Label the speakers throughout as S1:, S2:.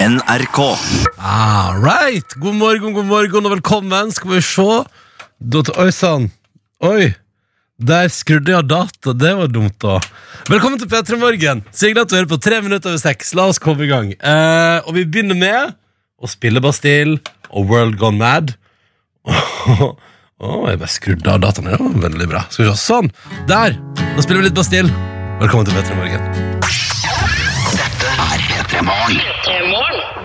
S1: NRK.
S2: All right. God morgen, god morgen og velkommen. Skal vi se. Da til- Oi sann. Oi. Der skrudde jeg av data. Det var dumt, da. Velkommen til P3 Morgen. Signe at du hører på tre minutter over seks. La oss komme i gang. Eh, og vi begynner med å spille Bastille og World Gone Mad. Å, jeg bare skrudde av dataen. Det var veldig bra. Skal vi se. Sånn. Der. Da spiller vi litt Bastille. Velkommen til P3 Morgen.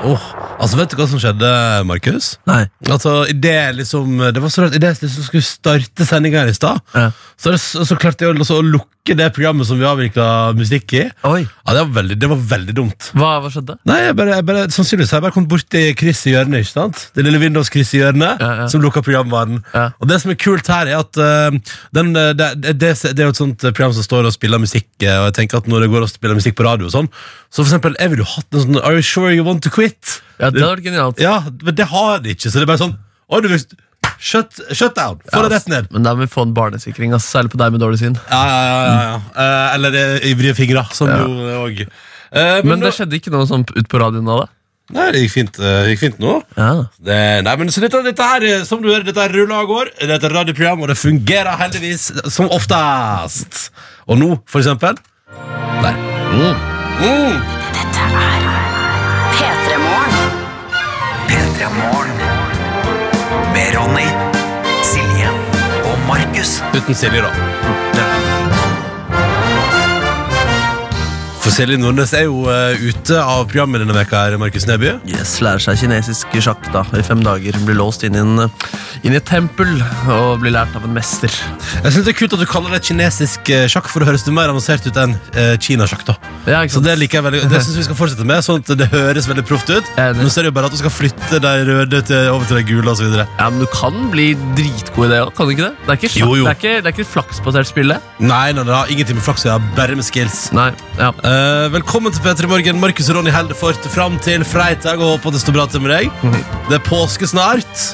S2: Åh, altså Vet du hva som skjedde, Markus?
S3: Nei.
S2: Altså, i det, liksom, det var så rart, i det jeg liksom skulle starte sendinga her i stad,
S3: Ja.
S2: så, er det- så klarte jeg også å lukke det programmet som vi avvikla musikk i.
S3: Oi.
S2: Ja, det var veldig, det var veldig dumt.
S3: Hva, hva skjedde?
S2: Nei, jeg bare, jeg bare, Sannsynligvis har jeg bare kommet borti kryss i hjørnet. ikke sant? Det lille Windows-krysset i hjørnet
S3: Ja, ja.
S2: som lukka programvaren.
S3: Ja.
S2: Og Det som er kult her, er at eh, den, eh, det, det, det det er jo et sånt program som står og spiller musikk, eh, og jeg tenker at når det går og spiller musikk på radio og sånn, så for eksempel, jeg ville jo hatt en sånn Are you sure you want to quit?
S3: Ja, Det hadde vært genialt.
S2: Ja, men det har de ikke, så det er bare sånn Å, du visst Shut, shut down! Få det rett ned.
S3: Men da må vi få en barnesikring, ass. særlig på deg med dårlig syn.
S2: Ja, ja, ja, ja,
S3: Mm.
S2: ja. Eh, Eller eh, ivrige fingre, som jo òg
S3: Men det skjedde ikke noe sånn ut på radioen av det?
S2: Nei, det gikk fint, eh, gikk fint nå.
S3: Ja.
S2: Det, nei, men så dette, dette her, eh, som du hører, dette her ruller og går. Dette er et radioprogram, og det fungerer heldigvis som oftest. Og nå, for eksempel Der. Mm. Mm.
S4: P3morgen.
S1: P3 Morgen. Med Ronny, Silje og Markus.
S2: Uten Silje, da. For Silje Nordnes er jo eh, ute av programmet denne veka her, Markus Neby.
S3: Yes, Lærer seg kinesisk sjakk da i fem dager. Blir låst inn i, en, inn i et tempel og blir lært av en mester.
S2: Jeg synes det er kult at du kaller det kinesisk eh, sjakk, for det høres jo mer avansert ut enn eh, kinasjakk. da
S3: Ja,
S2: Så
S3: ikke sant?
S2: Det liker jeg veldig Det synes vi skal fortsette med, sånn at det høres veldig proft ut.
S3: Enig.
S2: Nå ser det jo bare at du skal flytte de røde til, over til de gule osv.
S3: Ja, men Du kan bli dritgod i det òg, kan du ikke det? Det er ikke, sjakk-
S2: Jo, jo.
S3: Det er ikke, det er ikke et flaksbasert spill, det.
S2: Nei, nei, det har ingenting med flaks å gjøre, bare med skills.
S3: Nei, ja.
S2: Eh, velkommen til P3 Morgen. Markus og Ronny holder fort fram til fredag og håper det står bra til med deg.
S3: Mhm.
S2: Det er påske snart,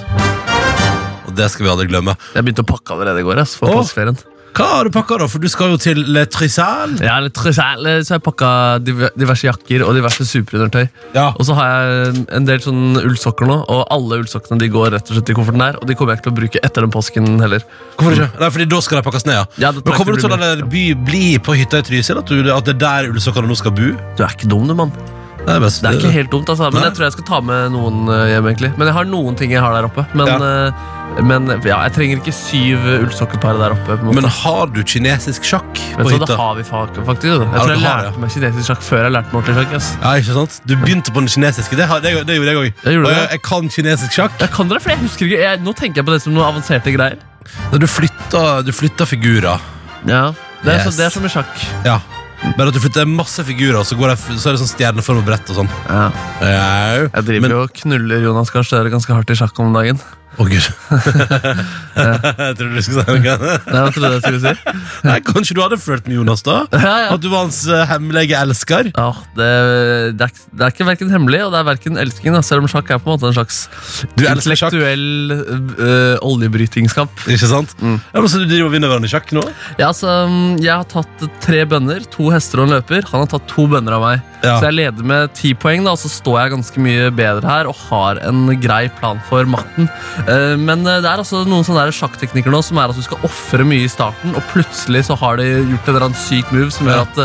S2: og det skal vi aldri glemme.
S3: Jeg begynte å pakke allerede i går. ass, for
S2: Åh.
S3: påskeferien.
S2: Hva har du pakka, da? For du skal jo til Le Trisal.
S3: Ja, litt trøsel, så jeg pakka diver- diverse jakker og diverse superundertøy.
S2: Ja.
S3: Og så har jeg en- en del sånn ullsokker nå, og alle ullsokkene de går rett og slett i kofferten der. Og de kommer jeg ikke til å bruke etter den påsken heller.
S2: Hvorfor ikke? Nei, fordi da skal de pakkes ned, ja.
S3: Ja, det tror
S2: Men
S3: jeg
S2: kommer du
S3: ikke
S2: til å
S3: blir
S2: la det by, bli på hytta i Trysil? At, du, at det er der ullsokkene nå skal bo?
S3: Du er ikke dum, du, mann.
S2: Det er best.
S3: Det er ikke helt dumt, altså. Men
S2: Nei.
S3: jeg tror jeg skal ta med noen eh, hjem, egentlig. Men jeg har noen ting jeg har der oppe. Men
S2: Ja.
S3: ja, men, ja jeg trenger ikke syv ullsokkepar der oppe. På en måte.
S2: Eh, Men har du kinesisk sjakk
S3: Vet
S2: på
S3: du hva, det
S2: hytta?
S3: har vi fa- faktisk.
S2: Ja,
S3: da. Jeg tror
S2: det
S3: jeg
S2: har
S3: lærte meg kinesisk sjakk før jeg lærte meg ordentlig sjakk. ass.
S2: Ja, ikke sant? Du begynte på den kinesiske. Det, har- det, det gjorde jeg òg.
S3: Jeg gjorde
S2: Og
S3: det.
S2: jeg, jeg kan kinesisk sjakk.
S3: Jeg kan dere, for jeg husker ikke jeg, Nå tenker jeg på det som noen avanserte greier.
S2: Du flytta, du flytta figurer.
S3: Ja, Det er,
S2: Yes.
S3: så, det er som i sjakk.
S2: Ja. Bare at du flytter masse figurer, og så, går det, så er det sånn stjerneform og brett og sånn.
S3: Ja.
S2: Au.
S3: Jeg driver
S2: Men-
S3: jo og knuller Jonas Gahr Støre ganske hardt i sjakk om dagen.
S2: Å, gud. jeg trodde du skulle si noe annet.
S3: Nei, hva trodde jeg skulle si?
S2: Nei, Kanskje du hadde flørt med Jonas, da?
S3: Ja, ja.
S2: At du var hans eh, hemmelige elsker?
S3: Ja, det, det, er, ikke- det er ikke verken hemmelig og det er verken elsking, da, selv om sjakk er på en måte en slags
S2: Du elsker sjakk,
S3: intellektuell øh, oljebrytingskamp.
S2: ikke sant? Ja, men Så du driver og vinner hverandre i sjakk nå?
S3: Ja, så, um, jeg har tatt tre bønner, to hester og en løper. Han har tatt to bønner av meg.
S2: Ja.
S3: Så jeg leder med ti poeng, da, og så står jeg ganske mye bedre her og har en grei plan for matten. Eh, Men eh, det er altså noen sånne der sjakkteknikker nå som er at du skal ofre mye i starten, og plutselig så har de gjort en eller annen syk move som
S2: Ja.
S3: gjør at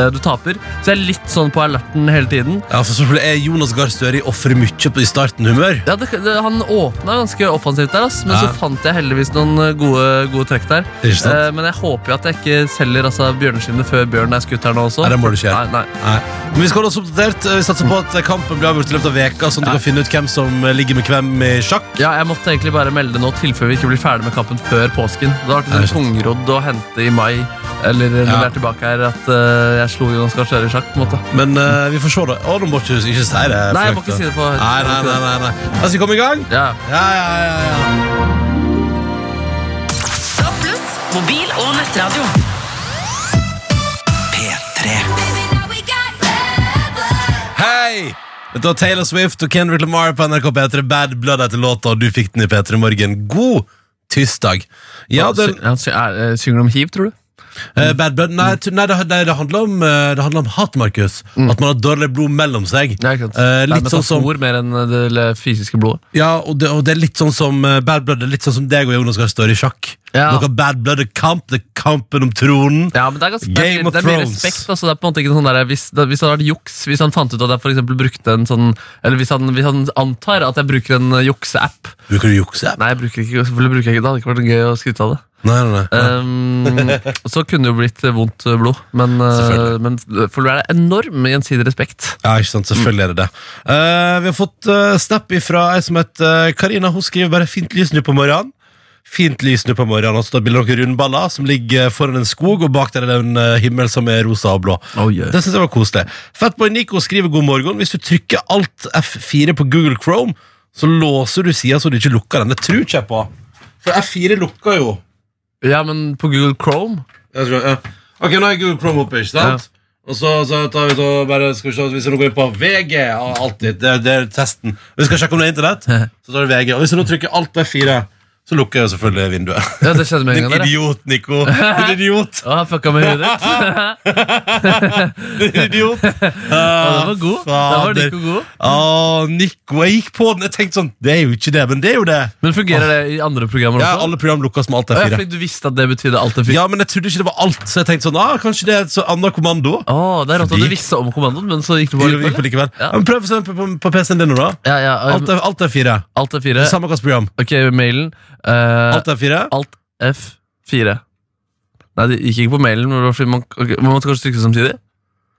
S3: eh, du taper. Så jeg er litt sånn på alerten hele tiden.
S2: Ja, for så Er Jonas Gahr Støre i ofre mye på i starten-humør?
S3: Ja, det, det, Han åpna ganske offensivt der, ass, men
S2: Ja.
S3: så fant jeg heldigvis noen eh, gode, gode trekk der.
S2: Ikke sant?
S3: Eh, men jeg håper jo at jeg ikke selger altså, bjørneskinnet før bjørnen er skutt her nå også.
S2: Nei, det må du ikke gjøre.
S3: Nei, nei.
S2: Nei. Men vi skal holde oss oppdatert. Vi satser på at kampen blir avgjort i løpet av veka, sånn at du kan finne ut hvem som ligger med hvem i sjakk.
S3: Ja, jeg måtte egentlig bare melde nå tilfelle vi ikke blir ferdig med kampen før påsken. Det har vært
S2: Nei,
S3: en
S2: sant.
S3: tungrodd å hente i mai, eller når
S2: Ja.
S3: vi er tilbake her, at eh, jeg slo Jonas Gahr Støre i sjakk. på en måte.
S2: Men eh, vi får se, da. Å, nå må du ikke, ikke si det.
S3: Nei, jeg må
S2: Frank, da.
S3: ikke si det på
S2: Nei, nei, nei, nei, nei. Da skal vi komme i gang.
S3: Ja.
S2: Ja, ja, ja, ja.
S4: Stå pluss, mobil og nettradio.
S1: P3.
S2: Hei! Dette var Taylor Swift og Kendrick Lamar på NRK P3. Bad Blood etter låta, og du fikk den i P3 Morgen. God tirsdag. Ja,
S3: Ja,
S2: den,
S3: sy ja, sy er, eh, synger du om hiv, tror du?
S2: Eh, Bad blood. Nei, t- nei det, det, det handler om, eh, det handler om hat, Markus. At man har dårlig blod mellom seg.
S3: Mm. Ja, ikke sant?
S2: Eh,
S3: det er
S2: litt sånn som,
S3: metafor mer enn det le- fysiske blodet.
S2: ja, og, det, og det er litt sånn som eh, Bad blood det er litt sånn som deg og Jonas Gahr Støre i sjakk.
S3: Ja.
S2: Noe bad blood er kamp, det er kampen om tronen.
S3: Ja, men det er, ganske, det er,
S2: Game
S3: mye-
S2: of
S3: det er mye
S2: Thrones.
S3: respekt. Altså, det er på en måte ikke sånn der, hvis, det, hvis det hadde vært juks, hvis han fant ut at jeg for eksempel brukte en sånn Eller hvis han, hvis han antar at jeg bruker en eh, jukseapp
S2: Bruker du jukse?
S3: Nei, jeg bruker ikke, selvfølgelig bruker jeg ikke det. Det hadde ikke vært gøy å skryte av det.
S2: Nei, nei, nei.
S3: Um, så kunne det jo blitt eh, vondt eh, blod, men, eh,
S2: Selvfølgelig.
S3: men for du er det enorm gjensidig respekt.
S2: Ja, ikke sant, selvfølgelig er det det Eh, Vi har fått eh, snap ifra ei som heter eh, Karina, hun skriver bare fint lys nå på morgenen Fint lys nå på morgenen Og så bilder noen rundballer som ligger foran en skog Og bak der er det en eh, himmel som er rosa og blå Det synes jeg var koselig Fatboy Nico skriver god morgen Hvis du trykker alt F4 på Google Chrome Så låser du siden så du ikke lukker den Det tror ikke jeg på For F4 lukker jo
S3: Ja, men på Google Chrome
S2: jeg skal, ja. Ok, nå er Google Chrome oppe, ikke sant? Og så, så tar vi så bare, skal vi se, hvis vi nå går inn på VG og alltid, det, det er testen. Vi skal sjekke om det er internett, så tar vi VG. Og hvis vi nå trykker alt F4, så lukker jeg jo selvfølgelig vinduet.
S3: Ja, det skjedde med en
S2: Din
S3: gang. der, ja.
S2: idiot, Nico. Din idiot.
S3: Å, jeg fucka med huet ditt.
S2: Din idiot.
S3: Den var god. Den var like god.
S2: Å, Ah, Nico, jeg gikk på den. Jeg tenkte sånn, det er jo ikke det, men det er jo det.
S3: Men fungerer det i andre programmer
S2: Ja,
S3: også?
S2: alle program lukkes med alt
S3: Å, ja,
S2: F4.
S3: fordi du visste at det betydde alt det fikk?
S2: Ja, men jeg trodde ikke det var alt, så jeg tenkte sånn, ah, kanskje det er et så annet kommando.
S3: Å, det er rått at
S2: Fordi-
S3: du visste om kommandoen, men så gikk du
S2: Vi
S3: bare
S2: gikk på
S3: likevel.
S2: likevel.
S3: Ja.
S2: Men prøv for eksempel på, på PC-en din nå, da.
S3: Ja, ja,
S2: Alt
S3: um,
S2: er, alt er fire.
S3: alt er fire.
S2: Samme hvilket program.
S3: Ok, mailen. eh,
S2: Alt er fire.
S3: alt F4. Nei, det gikk ikke på mailen, men det var fordi man, ok, man måtte kanskje trykke samtidig?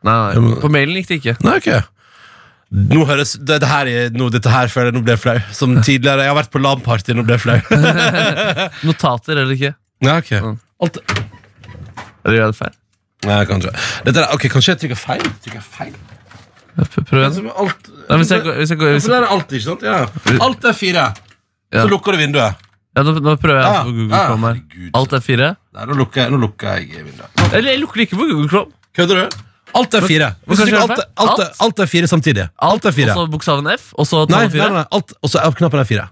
S3: Nei,
S2: Ja,
S3: nei,
S2: men-
S3: på mailen gikk det ikke.
S2: Nei, ok. Nå høres, det, det her er, nå, dette her føler jeg nå ble jeg flau. Som tidligere. Jeg har vært på LAN-party, nå ble jeg flau.
S3: Notater eller ikke.
S2: Nei, ok.
S3: Mm.
S2: Alt,
S3: Eller gjør jeg det feil?
S2: nei, kanskje. Dette er, ok, kanskje jeg trykker feil? Trykker jeg feil?
S3: Prøv prøv
S2: Det
S3: igjen.
S2: som er alt,
S3: Nei, hvis jeg går, hvis jeg går hvis,
S2: For der er alt, ikke sant? Ja. Alt er fire.
S3: Ja.
S2: Så lukker du vinduet.
S3: ja, nå, nå prøver jeg altså på Google
S2: Ja,
S3: Chrome her.
S2: herregud.
S3: Alt F4.
S2: Nei, nå lukker jeg, nå lukker jeg vinduet.
S3: Eller jeg lukker det ikke på Google Chrome.
S2: Kødder du? Alt er fire.
S3: men
S2: Hvis du
S3: kanskje
S2: trykker
S3: det er
S2: alt,
S3: feil?
S2: alt, er- alt er fire samtidig. Alt er fire.
S3: Og så bokstaven F, og så
S2: Nei,
S3: tallet
S2: nei,
S3: 4.
S2: nei, alt, og så er knappen er fire.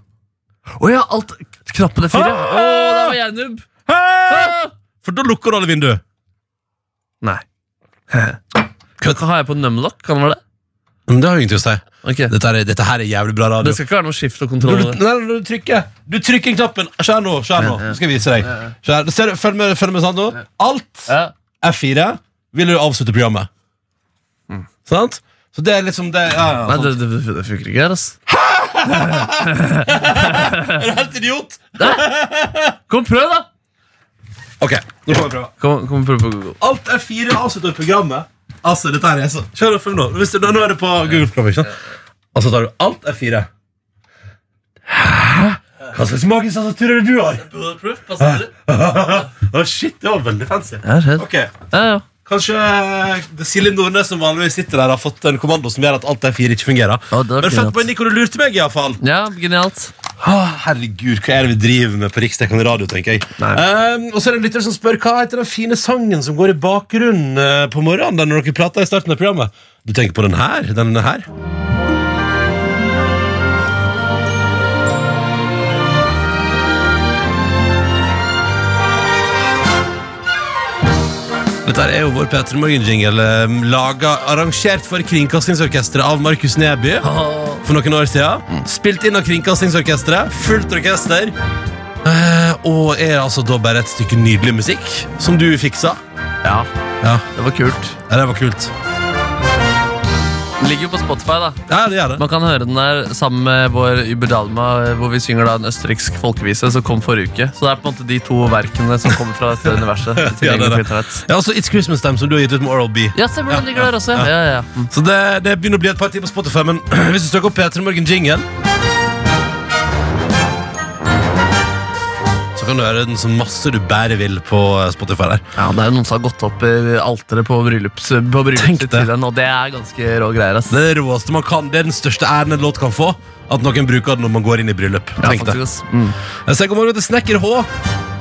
S3: Å ja, alt knappen er 4.
S2: Ah!
S3: Å, der var jeg nubb. Ah!
S2: For da lukker du alle vinduer.
S3: Nei. Hva har jeg på numlock? Kan det være det?
S2: Men det har jo ingenting å si.
S3: Ok.
S2: Dette, her er- dette her er jævlig bra radio.
S3: Det skal ikke være noe skift og
S2: Du,
S3: kontroll.
S2: du,
S3: over det.
S2: nei, nei, du trykker Du trykker knappen. Skjær nå. skjær nå Nå skal jeg vise deg. Skjær. Ser du, følg med, følg med sånn nå. Alt
S3: Ja.
S2: er fire. Vil du avslutte programmet? Mm. Sant? Så det er liksom det ja, ja,
S3: Nei,
S2: sånn.
S3: det, det, det funker ikke her, ass.
S2: Er du helt idiot?
S3: Kom, prøv, da!
S2: Ok, nå får vi prøve.
S3: Kom, kom prøv på Google.
S2: Alt er fire avslutter programmet. Altså, dette her er så Kjør og følg nå. Hvis du, nå er det på Google Chrome, ikke sant? Og så tar du alt er fire. Hæ? Hva slags magisk tastatur er det du har? Å, shit, det var veldig fancy.
S3: Jeg er redd.
S2: Ok,
S3: Ja, ja.
S2: Kanskje eh, det Silje Nordnes som vanligvis sitter der, har fått en kommando som gjør at alt er fire ikke fungerer.
S3: Ja, det var
S2: Men
S3: genialt.
S2: fett på Nico, du lurte meg iallfall.
S3: ja, genialt.
S2: Ah, herregud, hva er det vi driver med på riksdekkende radio, tenker jeg.
S3: Nei.
S2: Um, og så er det en lytter som spør hva heter den fine sangen som går i bakgrunnen eh, på morgenen da når dere prater i starten av programmet. Du tenker på den her? Denne her? Dette er jo vår Petter Morgen-jingle, eh, laga, arrangert for Kringkastingsorkesteret av Markus Neby
S3: Åh.
S2: for noen år siden.
S3: Mm.
S2: Spilt inn av Kringkastingsorkesteret. Fullt orkester. Eh, og er altså da bare et stykke nydelig musikk som du fiksa.
S3: Ja,
S2: Ja,
S3: det var kult.
S2: ja, det var kult.
S3: Den ligger jo på Spotify, da.
S2: Ja, det gjør det.
S3: Man kan høre den der sammen med vår Uber Dalma, hvor vi synger da en østerriksk folkevise som kom forrige uke. Så det er på en måte de to verkene som kommer fra dette
S2: Ja,
S3: universet.
S2: det er
S3: tilgjengelig på
S2: det.
S3: internett.
S2: Ja, også It's Christmas Time, som du har gitt ut med Oral B.
S3: Ja, stemmer, den ligger der også. Ja, ja, ja. Mm.
S2: Så det, det begynner å bli et par timer på Spotify, men hvis du søker opp P3 Morgen Jingle så kan du høre den så masse du bare vil på eh, Spotify der.
S3: ja, Det er noen som har gått opp i alteret på bryllups, på
S2: Tenk
S3: bryllupet
S2: det.
S3: til den, og det er ganske rå greier. ass.
S2: Det er det råeste man kan. Det er den største æren en låt kan få. At noen bruker den når man går inn i bryllup.
S3: Ja,
S2: Tenk det.
S3: faktisk, ass. Mm.
S2: Jeg sier god morgen til Snekker H.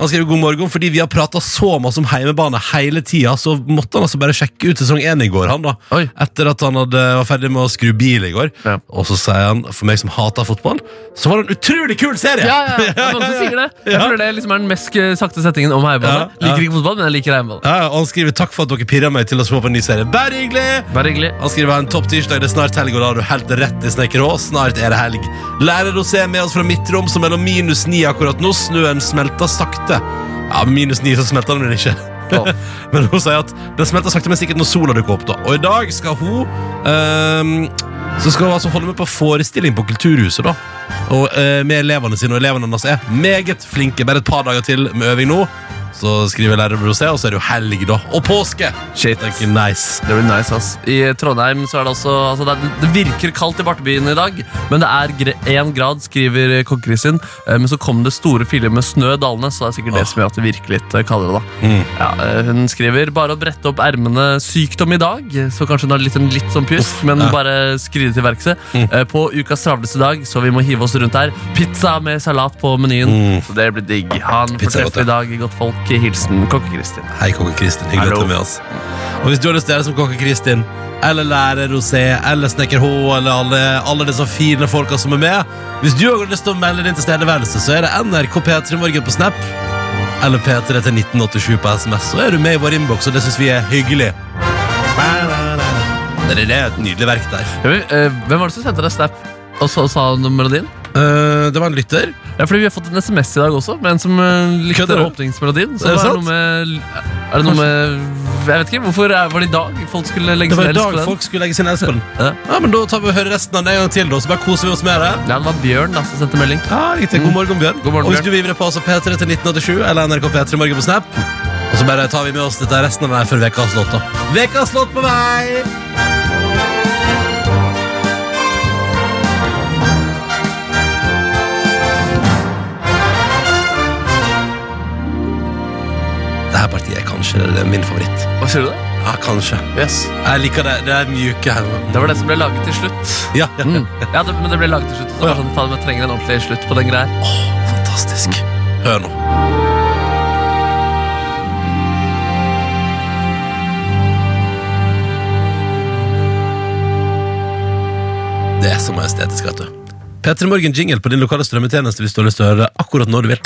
S2: Han skrev god morgen fordi vi har prata så masse om heimebane hele tida, så måtte han altså bare sjekke ut sesong én i går, han da.
S3: Oi.
S2: Etter at han hadde, var ferdig med å skru bil i går.
S3: Ja.
S2: Og så sier han, for meg som hater fotball, så var det en utrolig kul serie!
S3: Ja, ja, ja. Det er mange som sier det. Jeg føler det liksom er den mest eh, sakte settingen om heimebane.
S2: Ja, ja.
S3: Liker ikke fotball, men jeg liker heimebane.
S2: Ja, og han skriver takk for at dere pirra meg til å se på en ny serie. Bare hyggelig!
S3: Bare hyggelig.
S2: Han skriver ha en topp tirsdag, det er snart helg, og da har du helt rett i snekker Aas. Snart er det helg. Lærer å se med oss fra midtrom, som mellom minus ni akkurat nå. Snøen smelter sakte. Ja, men minus ni så smelter den vel ikke.
S3: Ja.
S2: men hun sier at den smelter sakte, men sikkert når sola dukker opp. da Og i dag skal hun ehm, Så skal hun altså holde med på forestilling på Kulturhuset, da. Og eh, Med elevene sine, og elevene hennes er meget flinke. Bare et par dager til med øving nå. Så skriver lærer Brosé, og så er det jo helg, da. Og påske!
S3: Shit.
S2: Tenker, nice.
S3: Det blir nice, ass. I Trondheim så er det også altså det, er, det virker kaldt i bartebyen i dag, men det er én grad, skriver Kokkekrisen. Eh, Men så kom det store filer med snø dalende, så det er sikkert det
S2: Åh.
S3: som gjør at det virker litt eh, kaldere. da
S2: Mm.
S3: ja, eh, Hun skriver bare å brette opp ermene sykdom i dag, så kanskje hun har litt, en litt sånn pjusk, men
S2: ja.
S3: bare skride til verkset.
S2: Mm.
S3: Eh, På ukas travleste dag, så vi må hive oss rundt her. Pizza med salat på menyen,
S2: Mm.
S3: så det blir digg. Ha en
S2: Pizza er godt,
S3: fortreffelig dag, godt folk. Hilsen Kokke-Kristin.
S2: Hei, konge Kristin. Hyggelig at du
S3: Hallo.
S2: er med oss. Og hvis du har lyst til å gjøre det som konge Kristin, eller lærer Rosé, eller snekker H, eller alle, alle disse fine folka som er med Hvis du også har lyst til å melde din tilstedeværelse, så er det NRK P3 Morgen på Snap. Eller P3 til 1987 på SMS. Så er du med i vår innboks, og det syns vi er hyggelig. Det er det er et nydelig verk der.
S3: Ja, men, eh, Hvem var det som sendte deg snap og så sa han melodien?
S2: Eh, det var en lytter.
S3: Ja, fordi Vi har fått en SMS i dag også med en som eh, likte
S2: Kødder du?
S3: åpningsmelodien. Så
S2: Er det
S3: er det,
S2: sant?
S3: noe med, er det noe med Jeg vet ikke, Hvorfor er- var det i dag folk skulle legge
S2: Det var i
S3: sin helst
S2: dag
S3: på den?
S2: folk skulle legge sin elsk på den.
S3: Ja.
S2: Ja, men Da tar vi og hører resten av den en gang til, da, så bare koser vi oss med det.
S3: Ja, det var Bjørn da, som sendte melding.
S2: Ja, riktig. God morgen, Bjørn.
S3: God morgen,
S2: og hvis du
S3: Bjørn.
S2: vil på oss P3 til 1987 eller NRK P3 Morgen på Snap, og så bare tar vi med oss dette resten av den her før ukas låt, da. Ukas låt på vei! Dette partiet er kanskje det er min favoritt.
S3: Hva sier du det?
S2: Ja, kanskje.
S3: Yes.
S2: Jeg liker det. Det er mjuke her.
S3: Det var det som ble laget til slutt.
S2: Ja, ja.
S3: Mm. Ja, det, men det ble laget til slutt. Så
S2: Ja.
S3: var det sånn, faen, jeg trenger en ordentlig slutt på den greia her.
S2: Åh, fantastisk. Hør nå. Det er så majestetisk, vet du. P3 Morgen jingle på din lokale strømmetjeneste hvis du har lyst til å høre det akkurat når du vil.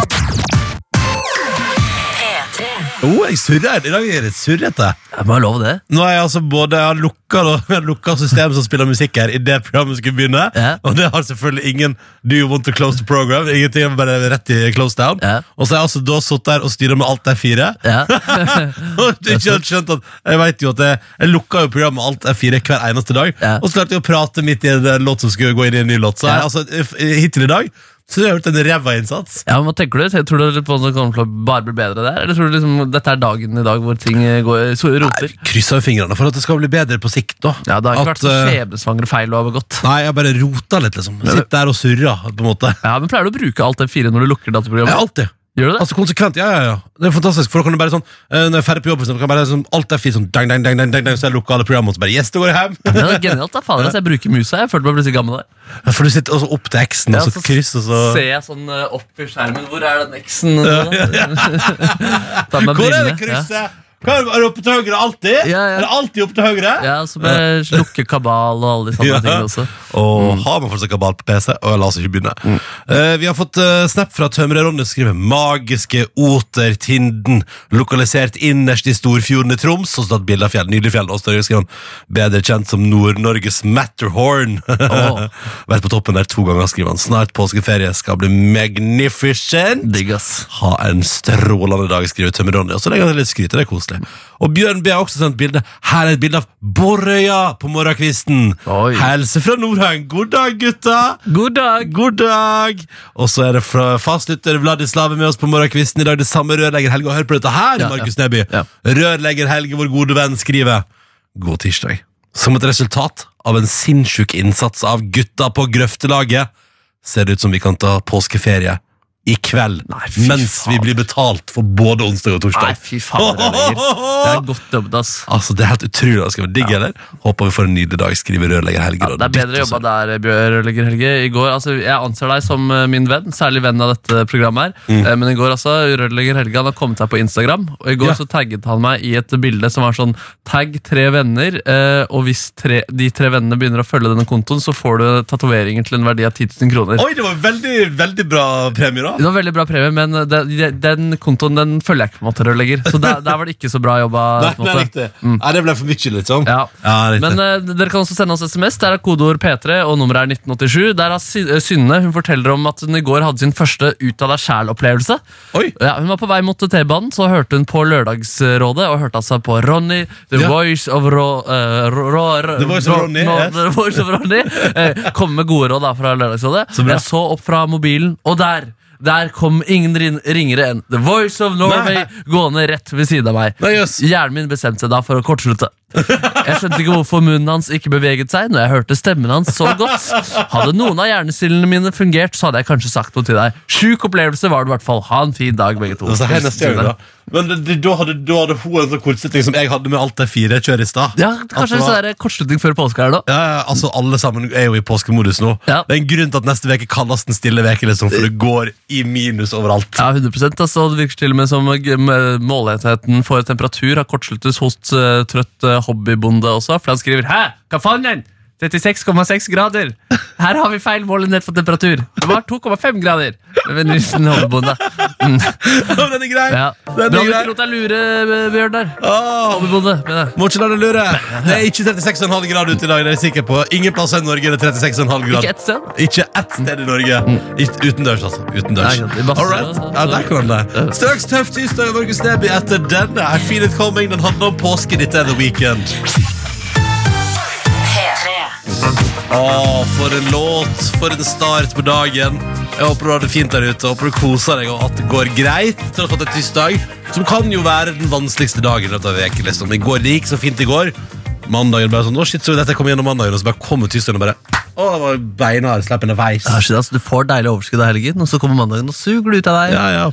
S4: P3.
S2: Oh, jeg surrer. I dag er det surrete.
S3: Jeg må ha lov det.
S2: Nå har jeg altså både jeg har lukka, da, jeg har lukka systemet som spiller musikk her, idet programmet skulle begynne.
S3: Ja.
S2: Og det har selvfølgelig ingen Do you want to close the program? Ingenting, bare rett i close down.
S3: Ja.
S2: Og så har jeg altså da sittet der og styra med alt de fire.
S3: Ja.
S2: Og du ikke hadde skjønt at Jeg vet jo at jeg, jeg lukka jo programmet med alt F4 hver eneste dag.
S3: Ja.
S2: Og så klarte jeg å prate midt i en eh, låt som skulle gå inn i en ny låt. Så jeg,
S3: Ja.
S2: altså, f- hittil i dag så har jeg gjort en ræva innsats.
S3: Ja, men hva tenker du? Tror du på at det kommer til å bare bli bedre der? Eller tror du liksom, dette er dagen i dag hvor ting eh, går, så roter?
S2: Kryssa fingrene for at det skal bli bedre på sikt. da
S3: Ja, Det har ikke
S2: At,
S3: vært så
S2: eh,
S3: skjebnesvangre feil du har begått.
S2: Nei, jeg bare rota litt, liksom. Sitt der og surra, på en måte.
S3: Ja, men Pleier du å bruke alt det fire når du lukker
S2: Jeg,
S3: dataprogrammet?
S2: alltid.
S3: Gjør du det?
S2: Altså konsekvent, ja, ja, ja. Det er fantastisk. For da kan du bare sånn eh, Når jeg er ferdig på jobb, for eksempel, kan jeg bare sånn, alt er fint sånn dang, dang, dang, dang, dang, dang, Så jeg lukker alle programmene, og så bare Yes, da går jeg hjem!
S3: Ja, det er genialt, da. Fader, altså, jeg bruker musa. Jeg følte meg plutselig gammel der.
S2: For du sitter også opp til X-en,
S3: Ja,
S2: og så kryss, og så
S3: ser jeg sånn eh, opp i skjermen. Hvor er den X-en? Ta meg
S2: Hvor er det
S3: brillene,
S2: krysset? Hva Er det- er det oppe til høyre alltid?
S3: Ja, ja.
S2: Er det alltid oppe til høyre?
S3: Ja, ja så må jeg lukke kabal og alle de samme
S2: Ja.
S3: tingene også. Mm.
S2: Og har man fortsatt kabal på PC? Og la oss ikke begynne. Eh, vi har fått eh, snap fra Tømrer Ronny som skriver 'Magiske Otertinden', lokalisert innerst i Storfjorden i Troms. Og så tatt bilde av fjell, nydelig fjell. Og så skriver han 'Bedre kjent som Nord-Norges Matterhorn'.
S3: Åh.
S2: Vært på toppen der to ganger, skriver han. Snart påskeferie skal bli magnificent.
S3: Digg, ass.
S2: Ha en strålende dag, skriver Tømmer Ronny. Og så legger han til litt skryt. Det er koselig. Og Bjørn B har også sendt bilde. Her er et bilde av Borøya på morgenkvisten.
S3: Oi.
S2: Helse fra Nordheim. God dag, gutta!
S3: God dag!
S2: God dag! Og så er det fra fastlytter Vladislav er med oss på morgenkvisten i dag. Det samme rørlegger Helge. Og hør på dette her,
S3: Ja, ja.
S2: Markus Neby.
S3: Ja.
S2: Rørlegger Helge, vår gode venn, skriver God tirsdag. Som et resultat av en sinnssyk innsats av gutta på grøftelaget, ser det ut som vi kan ta påskeferie i kveld.
S3: Nei, fy
S2: mens vi
S3: fader.
S2: blir betalt for både onsdag og torsdag.
S3: Nei, fy faen, det er lenger. Det er godt jobbet, ass.
S2: Altså, Det er helt utrolig. Det skal være digg, eller? Håper vi får en nydelig dag. Skriver rørlegger Helge.
S3: Ja, det er bedre jobba der, rørlegger Helge. I går, altså, Jeg anser deg som eh, min venn, særlig venn av dette programmet. her
S2: Mm.
S3: Eh, Men i går altså, rørlegger Helge han har kommet seg på Instagram, og i går
S2: Ja.
S3: så tagget han meg i et bilde som var sånn Tagg tre venner, eh, og hvis tre, de tre vennene begynner å følge denne kontoen, så får du tatoveringer til en verdi av 10 000 kroner.
S2: Oi, det var veldig, veldig bra premie, da.
S3: Det var veldig bra premie, men den, den kontoen den følger jeg ikke, på en måte, rørlegger. Så der, der var det ikke så bra jobba.
S2: Nei,
S3: på en
S2: nei,
S3: måte. Mm.
S2: riktig. Nei, det ble for mye, liksom.
S3: Ja.
S2: Ja, riktig.
S3: Men eh, dere kan også sende oss SMS. Der er kodeord P3, og nummeret er 1987. Der har Sy- eh, Synne hun forteller om at hun i går hadde sin første ut av deg sjæl-opplevelse.
S2: eh, Oi!
S3: Ja, hun var på vei mot T-banen, så hørte hun på Lørdagsrådet og hørte altså på Ronny, The
S2: Ja.
S3: Voice of Ro... eh, ro, ro, ro
S2: The Voice of
S3: ro-
S2: Ronny,
S3: nå-
S2: yes.
S3: The Voice of Ronny eh, Komme med gode råd da fra Lørdagsrådet.
S2: Så bra.
S3: Jeg så opp fra mobilen, og der! Der kom ingen rin- ringere enn The Voice of Norway
S2: Nei.
S3: gående rett ved siden av meg.
S2: Nei, jøss.
S3: Hjernen min bestemte seg da for å kortslutte. Jeg skjønte ikke hvorfor munnen hans ikke beveget seg når jeg hørte stemmen hans så godt. Hadde noen av hjernecellene mine fungert, så hadde jeg kanskje sagt noe til deg. Sjuk opplevelse var det i hvert fall. Ha en fin dag, begge to.
S2: Altså, hei, neste gang, da. Men det, det, da, hadde, da hadde hun en sånn kortsetting som jeg hadde med alt de fire kjør i stad.
S3: Ja,
S2: At
S3: kanskje
S2: det
S3: en
S2: var-
S3: sånn der kortslutning før påske her, da.
S2: ja, ja, altså Alle sammen er jo i påskemodus nå.
S3: Ja.
S2: Det er en grunn til at neste uke kalles den stille veke liksom, for det går i minus overalt.
S3: Ja, 100 altså, Det virker til og med som g- m- målenheten for temperatur har kortsluttes hos eh, trøtt eh, hobbybonde også, for han skriver 'hæ, hva faen den? 36,6 grader! Her har vi feil målenhet for temperatur! Det var 2,5 grader! Ved Nilsen hobbybonde. Mm,
S2: den er grei!
S3: ja. Du
S2: Den er
S3: hadde ikke
S2: grei. Ah,
S3: lot deg lure, eh, Bjørn, der.
S2: Åh,
S3: Hobbybonde. mener jeg.
S2: må ikke la deg lure. Det er ikke 36,5 grader ute i dag. det er jeg sikker på Ingen plasser i Norge er det 36,5
S3: Ikke
S2: grader.
S3: ett sted.
S2: Ikke ett sted i Norge. Ikke- Utendørs, altså.
S3: Mm. Nei,
S2: Utendørs.
S3: ikke sant. I Bastøy,
S2: Alright.
S3: altså.
S2: Ja, der kan det. Straks tøff tirsdag i Norges Neby etter denne. I feel it coming. Den handler om påske. Dette er The Weekend. Å, for en låt. For en start på dagen. Jeg håper du har det fint der ute. Håper du koser deg, og at det går greit. Tross at det er tirsdag, som kan jo være den vanskeligste dagen i løpet av veken, liksom. I går det gikk så fint i går. Mandagen bare sånn, å shit, så dette kommer gjennom mandagen, og så bare kommer tirsdagen og bare Å, det var beinhard, slapp en veis.
S3: Ja, shit, altså, du får deilig overskudd av helgen, og så kommer mandagen og suger det ut av deg.
S2: Ja, ja.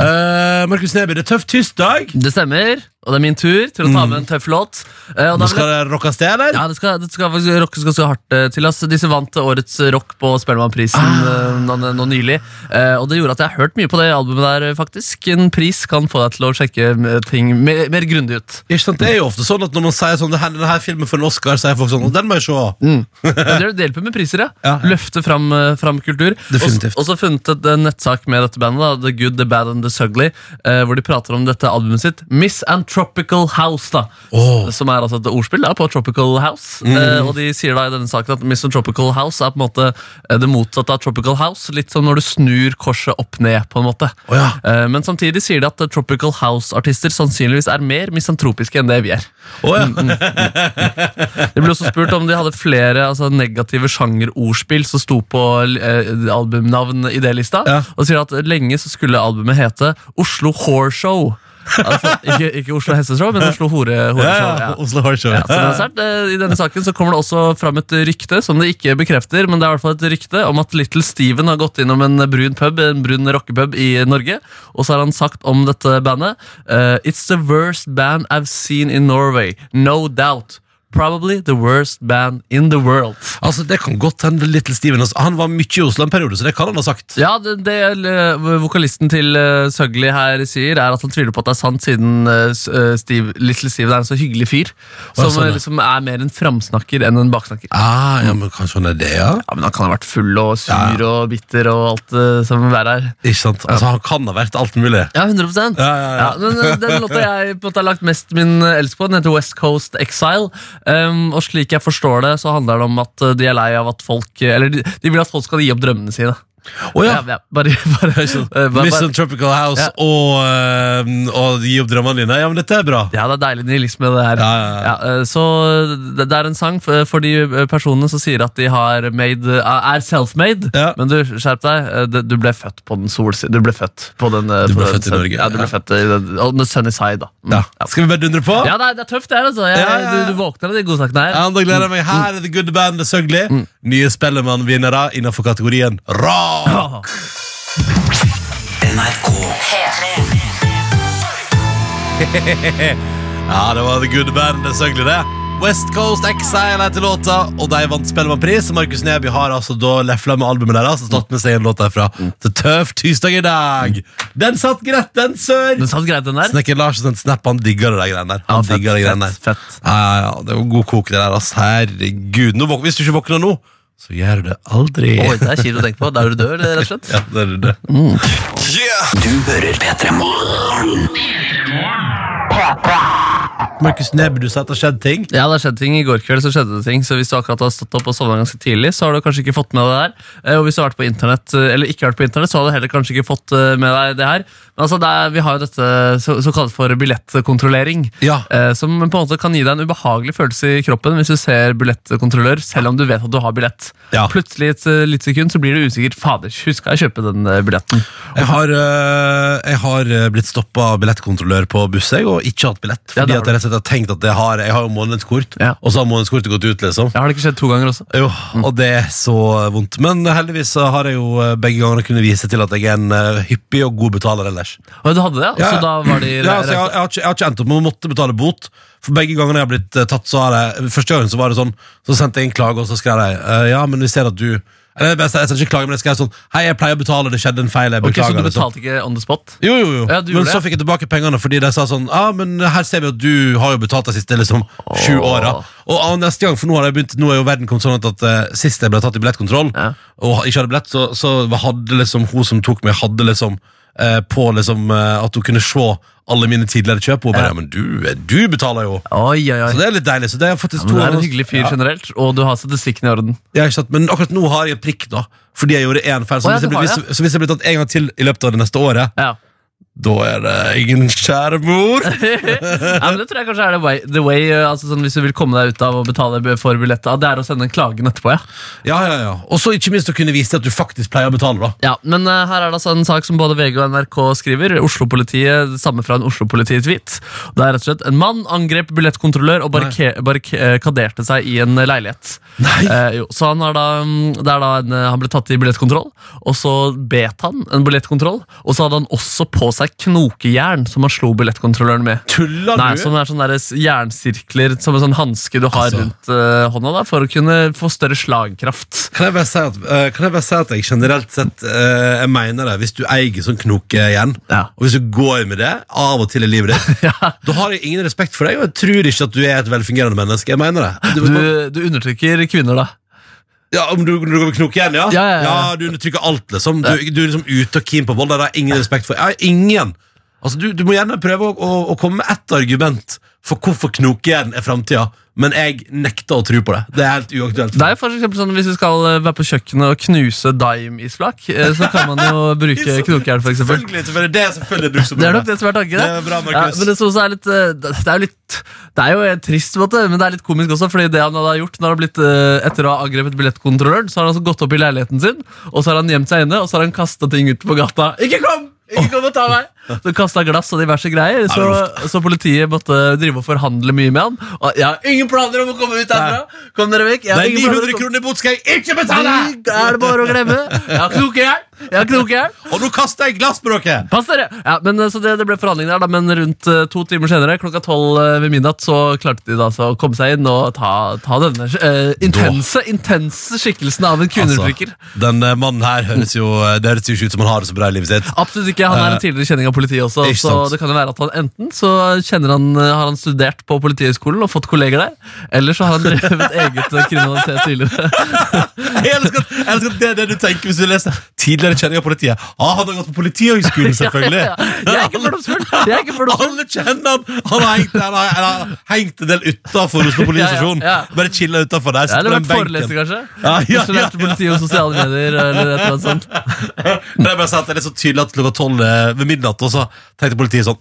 S2: Eh, Markus Neby, det er tøff tirsdag.
S3: Det stemmer, og det er min tur til å ta med en tøff låt. Eh,
S2: Nå
S3: og da vil jeg-
S2: skal det rockes til, eller?
S3: Ja, det skal, det skal, faktisk- rock skal så hardt eh, til. ass. De som vant eh, årets rock på Spellemannprisen eh, nå, nå nylig. Eh, og det gjorde at jeg har hørt mye på det albumet der, eh, faktisk. En pris kan få deg til å sjekke eh, ting mer, mer grundig ut.
S2: Ikke sant? Det er jo ofte sånn at når man sier sånn, det her, denne her filmen for en Oscar, sier folk sånn, «Å, den må jeg se.
S3: Mm. Ja, det, det hjelper med priser, ja.
S2: Ja, ja.
S3: Løfte fram, eh, fram kultur.
S2: Definitivt.
S3: Og så funnet et eh, nettsak med dette bandet, da, The Good, The Bad and The Sugly, eh, hvor de prater om dette albumet sitt, Miss and Tropical House, da.
S2: Åh. Mhm.
S3: Som er altså et ordspill da, på Tropical House. Eh, og de sier da i denne saken at Miss and Tropical House er på en måte eh, det motsatte av Tropical House. Litt som når du snur korset opp ned, på en måte.
S2: Å, ja.
S3: Eh, men samtidig sier de at eh, Tropical House-artister sannsynligvis er mer misantropiske enn det vi er.
S2: Å,
S3: Mm,
S2: ja.
S3: Det ble også spurt om de hadde flere altså, negative sjangerordspill som sto på eh, albumnavn i det lista.
S2: Ja.
S3: Og sier at lenge så skulle albumet hete Oslo Horeshow. Altså, ikke, ikke Oslo Hesteshow, men Oslo Hore,
S2: Ja,
S3: Horeshow.
S2: ja.
S3: Ja.
S2: Oslo Hard Show.
S3: Ja, så det er sært. Eh, I denne saken så kommer det også fram et rykte som det ikke bekrefter, men det er i hvert fall et rykte om at Little Steven har gått innom en brun pub, en brun rockepub i Norge, og så har han sagt om dette bandet eh, It's the worst band I've seen in Norway, no doubt. Probably the worst band in the world.
S2: Altså, det kan godt hende Little Steven. Altså. Han var mye i Oslo en periode, så det kan han ha sagt.
S3: Ja, det, det eh, vokalisten til uh, Søgli her sier, er at han tviler på at det er sant, siden eh, S- eh, Steve, Little Steven er en så hyggelig fyr,
S2: Å, ja,
S3: som
S2: sånn, ja.
S3: eh, liksom er mer en framsnakker enn en baksnakker.
S2: Ah, ja, men kanskje han er det, ja.
S3: Ja, men Han kan ha vært full og sur og bitter og alt eh, som verre er.
S2: Ikke sant? Altså, han kan ha vært alt mulig.
S3: Ja, 100
S2: Ja, ja, ja.
S3: men eh, Den låta jeg på en måte har lagt mest min eh, elsk på, den heter West Coast Exile. Um, og slik jeg forstår det, så handler det om at eh, de er lei av at folk eh, Eller de, de vil at folk skal gi opp drømmene sine.
S2: Å, ja.
S3: bare, bare, eh, bare,
S2: Miss
S3: bare,
S2: and Tropical House
S3: Ja.
S2: og, eh, og Gi opp drømmene dine. Ja, men dette er bra.
S3: ja, det er deilig nihilisme, det her.
S2: Ja, ja, ja.
S3: eh, så det, det er en sang for, for de eh, personene som sier at de har made, eh, er self-made.
S2: Ja.
S3: Men du, skjerp deg. eh, det- Du ble født på den solsiden. Du ble født på den eh,
S2: Du ble
S3: på den
S2: født i
S3: sen-
S2: Norge,
S3: Ja, du ble
S2: ja.
S3: født i den, on the sunny side, da. Mm.
S2: Ja. Skal vi bare dundre på?
S3: Ja, det er, det er tøft, det her. Altså. Jeg,
S2: Ja, ja, ja.
S3: Du, du våkner av de godsakene her.
S2: Ja, da gleder
S3: Mm.
S2: jeg meg. Her er The Good Band, The Søgli. Nye Spellemann-vinnere innenfor kategorien rock.
S1: NRK
S4: P3.
S2: Ja, det var The Good Band, det søgler det. West Coast Exile heter låta, og de vant Spellemannpris. Markus Neby har altså da lefla med albumet deres og tatt med seg en låt derfra. Til tøff tirsdag i dag. Den satt greit, den, sør!
S3: Den satt greit, den der.
S2: Snekker Lars sendte snap, han digger det der greiene der. Han
S3: Ja, fett,
S2: digger det greiene der.
S3: fett, fett.
S2: Ja, ja, ja, det var god kok det der, ass. Herregud. Nå, våk- hvis du ikke våkner nå, så gjør du det aldri.
S3: Oi, Mm. det er kjipt å tenke på. Da er du død, eller, rett og slett.
S2: Ja, det er det.
S1: Du hører P3 Morgen.
S2: Markus Neby, du sa at det har skjedd ting.
S3: Ja, det har skjedd ting. I går kveld så skjedde det ting, så hvis du akkurat har stått opp og sovna ganske tidlig, så har du kanskje ikke fått med deg det her. Eh, Og hvis du har vært på internett, eh, eller ikke vært på internett, så har du heller kanskje ikke fått eh, med deg det her. Men altså, det er, vi har jo dette så- såkalt for billettkontrollering.
S2: Ja.
S3: eh, Som på en måte kan gi deg en ubehagelig følelse i kroppen hvis du ser billettkontrollør, selv om du vet at du har billett.
S2: Ja.
S3: Plutselig i et eh, lite sekund så blir du usikker. Fader, huska jeg å kjøpe den eh, billetten?
S2: Jeg har, øh, jeg har øh, blitt stoppa av billettkontrollør på buss jeg, og ikke hatt billett.
S3: Ja,
S2: Fordi
S3: det har
S2: at jeg rett og slett har tenkt at jeg har, jeg har jo månedskort,
S3: Ja.
S2: og så har månedskortet gått ut. liksom
S3: Ja, Mm. har det ikke skjedd to ganger også?
S2: jo, og det er så vondt. Men heldigvis så har jeg jo øh, begge ganger kunnet vise til at jeg er en øh, hyppig og god betaler ellers.
S3: Og du hadde det, og så da var de
S2: ja, altså, jeg, har- jeg, har ikke, jeg har ikke endt opp med å måtte betale bot. For begge gangene jeg har blitt eh, tatt, så har jeg Første gangen så var det sånn Så sendte jeg en klage, og så skrev jeg eh, Ja, men vi ser at du Eller jeg, jeg, sendte ikke klage, men jeg skrev sånn Hei, jeg pleier å betale, det skjedde en feil, jeg
S3: Ok, Så
S2: beklager.
S3: du
S2: liksom.
S3: betalte ikke on the spot?
S2: Jo, jo, jo.
S3: Ja, du
S2: men
S3: gjorde
S2: så
S3: det.
S2: fikk jeg tilbake pengene fordi de sa sånn Ja, ah, men her ser vi at du har jo betalt de siste liksom, sju
S3: Åh.
S2: åra. Og ah, neste gang, for nå, har jeg begynt, nå er jo verden kommet sånn at, at eh, sist jeg ble tatt i billettkontroll,
S3: Ja.
S2: og ikke hadde billett, så, så hadde liksom hun som tok meg, hadde liksom eh, på liksom eh, at hun kunne se alle mine tidligere kjøp. Og hun bare ja. men du, eh, du betaler jo.
S3: Oi, oi, oi.
S2: Så det er litt deilig. Så det er faktisk
S3: Men
S2: to
S3: du er en
S2: ganger-
S3: hyggelig fyr
S2: Ja.
S3: generelt, og du har statistikken i orden.
S2: Ja, ikke sant? Men akkurat nå har jeg et prikk, da. Fordi jeg gjorde én feil. Så,
S3: Å, ja,
S2: hvis jeg
S3: du
S2: blir,
S3: har
S2: hvis, så hvis jeg blir tatt en gang til i løpet av det neste året,
S3: Ja.
S2: da er det ingen kjære mor.
S3: ja, men Det tror jeg kanskje er the way, the way eh, altså sånn hvis du vil komme deg ut av å betale b- for billetter. ah, Det er å sende en klagen etterpå, ja.
S2: Ja, ja, ja. Og så ikke minst å kunne vise til at du faktisk pleier å betale, da.
S3: ja men eh, her er det altså en sak som både VG og NRK skriver. Oslo-politiet, det samme fra en Oslo-politi-tweet. Det er rett og slett En mann angrep billettkontrollør og barrike- barrike- eh, kaderte seg i en eh, leilighet.
S2: Nei.
S3: Eh, jo, så han, har da, mm, det er da en, eh, han ble tatt i billettkontroll, og så bet han en billettkontroll. Og så hadde han også på seg knokejern som han slo billettkontrolløren med.
S2: Tuller
S3: Nei,
S2: du?
S3: sånn er sånne der s- jernsirkler som en sånn hanske du har
S2: Altså.
S3: rundt eh, hånda da, for å kunne få større slagkraft.
S2: Kan jeg, bare si at, eh, kan jeg bare si at jeg generelt sett eh, Jeg mener det, hvis du eier sånn knokejern,
S3: Ja.
S2: og hvis du går med det av og til i livet ditt, da har jeg ingen respekt for deg, og jeg tror ikke at du er et velfungerende menneske. Jeg mener det.
S3: Du, du undertrykker kvinner, da.
S2: ja, om du, når du går med knokejern, ja?
S3: Ja, ja, ja, ja.
S2: Du undertrykker alt, liksom. Du, du er liksom ute og keen på vold. Det har jeg ingen respekt for. Jeg har ingen Altså, du, du må gjerne prøve å, å, å komme med ett argument for hvorfor knokejern er framtida, men jeg nekter å tro på det. Det er helt uaktuelt.
S3: Det er jo for eksempel sånn Hvis du skal eh, være på kjøkkenet og knuse daim-isflak, eh, så kan man jo bruke knokejern, for eksempel.
S2: Selvfølgelig, selvfølgelig. Det er selvfølgelig brukt som
S3: Det er nok det som er tanken.
S2: Det er bra, Markus.
S3: men det, som også er litt, eh, det det er jo litt Det er jo eh, trist, på en måte, men det er litt komisk også. Fordi det han hadde gjort når han har blitt, eh, Etter å ha angrepet billettkontrolløren, Så har han altså gått opp i leiligheten sin, og så har han gjemt seg inne og så har han kasta ting ut på gata. Ikke kom! Ikke kom og ta meg! Så kasta glass og diverse greier. Så, så politiet måtte drive og forhandle mye med han. Og jeg har ingen planer om å komme ut herfra! Kom dere vekk! Jeg
S2: Det
S3: har
S2: er
S3: ingen
S2: 900
S3: planer om å komme-
S2: kroner i bot skal jeg ikke betale!
S3: Det er det bare å glemme. Jeg har knokejern! Jeg har knokejern!
S2: Og nå kaster jeg glass på dere!
S3: Pass dere! Ja, men, eh, så det, det ble forhandlinger, der, da, men rundt eh, to timer senere, klokka tolv eh, ved midnatt, så klarte de da altså å komme seg inn og ta, ta denne eh, intense intense skikkelsen av en kvinneundertrykker.
S2: Altså, den eh, mannen her høres jo eh, Det høres jo ikke ut som han har det så bra i livet sitt.
S3: Absolutt ikke. Han er en tidligere kjenning av politiet også.
S2: Eh, Ikke
S3: Så
S2: sant.
S3: det kan jo være at han enten så kjenner han, eh, har han studert på Politihøgskolen og fått kolleger der, eller så har han drevet eget eh, kriminalitet tidligere.
S2: Jeg elsker, at- jeg elsker at det er det du tenker hvis du leser tidligere kjenning av politiet. Ah, han har gått på Politihøgskolen, selvfølgelig!
S3: Ja, ja, ja. Jeg er ikke fordomsfull! Jeg er ikke fordomsfull.
S2: Alle kjenner han! Han har hengt, han har, han har hengt en del utafor Oslo politistasjon.
S3: Ja, ja, ja.
S2: Bare chilla utafor der.
S3: Ja,
S2: sitter
S3: Eller
S2: med
S3: vært
S2: benken.
S3: foreleser, kanskje.
S2: Ja, ja, ja,
S3: Isolert politi og sosiale medier. eller et eller annet sånt.
S2: Men jeg bare sa at det er så tydelig at klokka tolv eh, ved midnatt, og så tenkte politiet sånn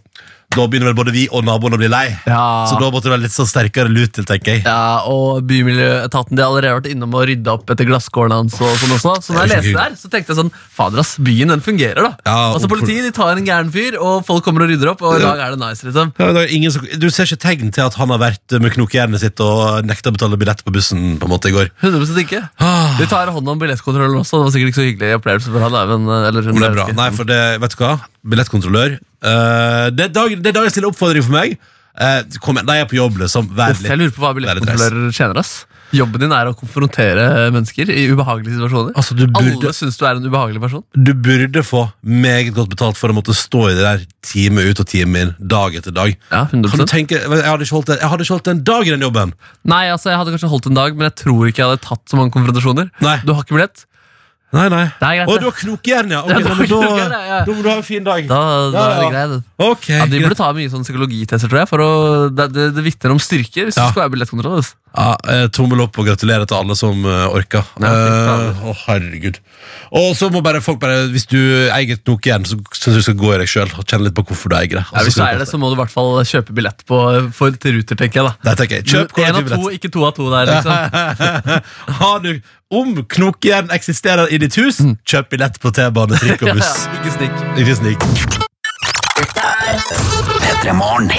S2: Da begynner vel både vi og naboen å bli lei.
S3: Ja.
S2: Så da måtte det være litt sånn sterkere lut til, tenker jeg.
S3: Ja, og Bymiljøetaten de har allerede vært innom og rydda opp etter glasskårene hans. og sånn også. Så når jeg
S2: Det er så
S3: leste det her, så tenkte jeg sånn Fader, ass, byen den fungerer, da.
S2: Ja,
S3: altså
S2: og-
S3: Politiet de tar en gæren fyr, og folk kommer og rydder opp, og i
S2: Ja.
S3: dag er det nice, liksom.
S2: Ja, men det er ingen som, du ser ikke tegn til at han har vært med knokejernet sitt og nekta å betale billett på bussen på en måte i går.
S3: 100 ikke.
S2: Ah.
S3: De tar hånd om billettkontrollen også. Det var sikkert ikke så hyggelig opplevelse for han. da, Men, eh, eller, hun,
S2: Men det
S3: jeg
S2: er bra.
S3: vet ikke.
S2: Nei, for det, vet du hva? Billettkontrollør. eh, det, er dag, det er dagens lille oppfordring for meg. Eh, kom igjen, de er på jobb, liksom. Vær
S3: Uff, jeg
S2: litt
S3: lurer på hva billettkontrollører tjener. ass. Jobben din er å konfrontere mennesker i ubehagelige situasjoner.
S2: Altså, du burde,
S3: Alle syns du er en ubehagelig person.
S2: du burde få meget godt betalt for å måtte stå i det der time ut og time inn, dag etter dag.
S3: Ja, sånn. 100
S2: Kan du tenke, Jeg hadde ikke holdt en, jeg hadde ikke holdt en dag i den jobben.
S3: Nei, altså, jeg hadde kanskje holdt en dag, men jeg tror ikke jeg hadde tatt så mange konfrontasjoner.
S2: Nei.
S3: Du har ikke billett?
S2: Nei, nei.
S3: Det er greit,
S2: Å,
S3: det.
S2: du har knokejern, ja. Ok,
S3: Ja, du har
S2: men da,
S3: knokejern, ja, ja.
S2: da må du ha en fin dag.
S3: Da, da
S2: Ja,
S3: er
S2: ja.
S3: det greit.
S2: Ok,
S3: Ja, de
S2: greit.
S3: burde ta mye sånn psykologitester, tror jeg. For å, det, det, det vitner om styrke hvis
S2: Ja.
S3: du skal være billettkontroll. ass.
S2: Ja, eh, tommel opp og gratulerer til alle som eh, orker. Eh, Å,
S3: Ja, fint,
S2: herregud. Og så må bare folk bare Hvis du eier et Nokia-en, så syns jeg du skal gå i deg sjøl og kjenne litt på hvorfor du eier det.
S3: Ja, hvis du
S2: skal
S3: er det, så må du i hvert fall kjøpe billett på, for, til Ruter, tenker jeg. da
S2: Nei, tenker jeg. Kjøp
S3: Én av to,
S2: kollektivbillett.
S3: ikke to av to der, liksom.
S2: Har du Om Knokjern eksisterer i ditt hus,
S3: Mm.
S2: kjøp billett på T-bane, trikk og buss.
S3: ikke snikk.
S2: Ikke snik.
S1: Petremorne.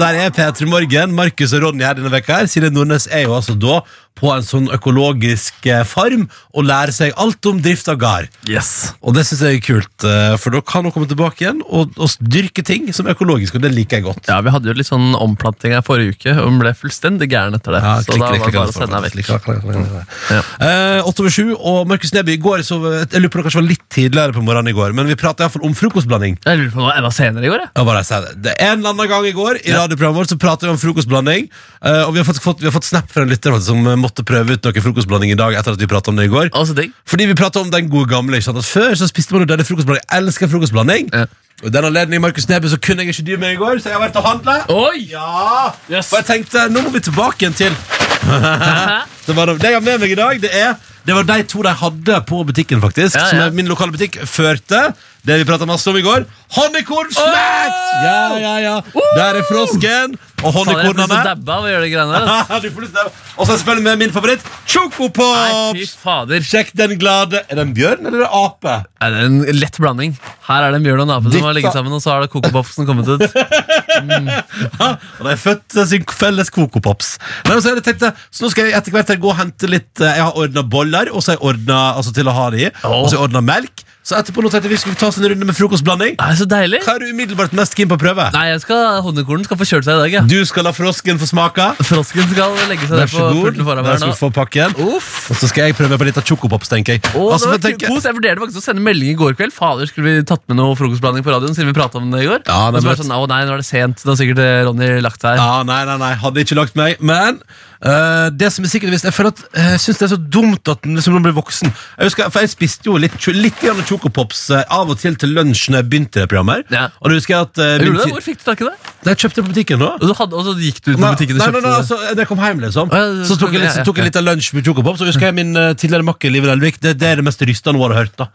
S2: Dette er P3 Morgen. Markus og Ronny er denne veka her. Silje Nordnes er jo altså da på en sånn økologisk eh, farm og lærer seg alt om drift av gard.
S3: Yes.
S2: Og det synes jeg er kult, eh, for da kan hun komme tilbake igjen og, og dyrke ting som er økologisk, og det liker jeg godt.
S3: Ja, Vi hadde jo litt sånn omplanting her forrige uke, og hun ble fullstendig gæren etter det. så da var det bare å sende henne vekk. Ja.
S2: Eh, Åtte over sju, og Markus Neby, i går så, jeg lurer på det kanskje var litt tidligere på morgenen i går, men vi pratet i hvert fall om frokostblanding.
S3: Jeg lurer på om det var enda senere i går. jeg.
S2: Jeg må bare si det. det er En eller annen gang i går i radioprogrammet vårt så pratet vi om frokostblanding. eh, og vi har, faktisk fått, vi har fått snap fra en lytter faktisk, som eh, måtte prøve ut noe frokostblanding i dag. etter at vi pratet om det i går.
S3: Altså, digg.
S2: Fordi vi pratet om den gode gamle. ikke sant? At Før så spiste man jo denne frokostblanding. Jeg elsker frokostblanding.
S3: Ja.
S2: Og i den anledning Markus Neby, så kunne jeg ikke dy meg i går, så jeg har vært og handla.
S3: Oi!
S2: Ja!
S3: Yes.
S2: Og jeg tenkte, nå må vi tilbake igjen til det, var, det jeg har med meg i dag, det er Det var de to de hadde på butikken, faktisk.
S3: Ja, ja.
S2: Som er min lokale butikk førte. Det vi prata masse om i går. Honeycorn snacks! Ja, ja, ja. Der er frosken og
S3: Fader, jeg får lyst til å
S2: honeycornene.
S3: dabbe av å gjøre det greiene der. ass.
S2: Du får lyst til det. Og så er selvfølgelig med min favoritt
S3: Nei, fy
S2: Chocopops!
S3: fader.
S2: Sjekk den glade Er det en bjørn eller er det ape?
S3: Er det en lett blanding? Her er det en bjørn og en ape som har
S2: Dette-
S3: ligget sammen, og så har det Coco Popsen kommet ut.
S2: Og de er født til sin felles kokopops. Nei, men Så jeg tenkte, så nå skal jeg etter hvert gå og hente litt eh, Jeg har ordna boller og så har jeg ordnet, altså til å ha det i. Og så har jeg ordna melk. Så etterpå nå tenkte jeg vi skulle ta oss en runde med frokostblanding.
S3: Det er så deilig.
S2: Hva er du umiddelbart mest keen på å prøve?
S3: Nei, jeg skal, Honningkornen skal få kjørt seg i dag. Ja.
S2: Du skal la frosken få smake.
S3: Frosken skal legge seg
S2: Vær
S3: der på
S2: så god.
S3: pulten foran
S2: Der
S3: meg her
S2: skal
S3: nå.
S2: du få pakken.
S3: Uff.
S2: Og så skal jeg prøve på litt av chocopops, tenker jeg.
S3: Å,
S2: Altså,
S3: det var
S2: for jeg tenker-
S3: kos. Jeg vurderte faktisk å sende melding i går kveld. Fader, skulle vi tatt med noe frokostblanding på radioen siden vi pratet om det i går?
S2: Ja,
S3: Og
S2: det
S3: så
S2: er
S3: var det sånn, å nei, nå er det sent. Nå har sikkert eh, Ronny lagt seg.
S2: Ja, nei, nei, nei, hadde ikke lagt meg Men eh, det som er sikkert visst Jeg føler at eh, jeg synes det er så dumt at den liksom når man blir voksen Jeg husker, for jeg spiste jo litt, litt grann Chocopops eh, av og til til lunsjen når Jeg begynte i det programmet her
S3: Ja.
S2: Og da husker jeg at eh, min
S3: Gjorde du det?
S2: tid-
S3: Hvor fikk du tak i det?
S2: Nei, jeg kjøpte det på butikken da
S3: Og så, hadde, og så gikk du ut på
S2: Nei,
S3: butikken og
S2: nei, nei,
S3: kjøpte
S2: nei,
S3: det.
S2: altså, da jeg kom hjem liksom
S3: Ja, ja,
S2: Så tok jeg litt,
S3: ja,
S2: så tok
S3: ja.
S2: jeg litt av lunsj med Chocopops Og husker jeg min eh, tidligere makker, Liv Elvik det, det er det mest rystende hun har hørt da
S3: At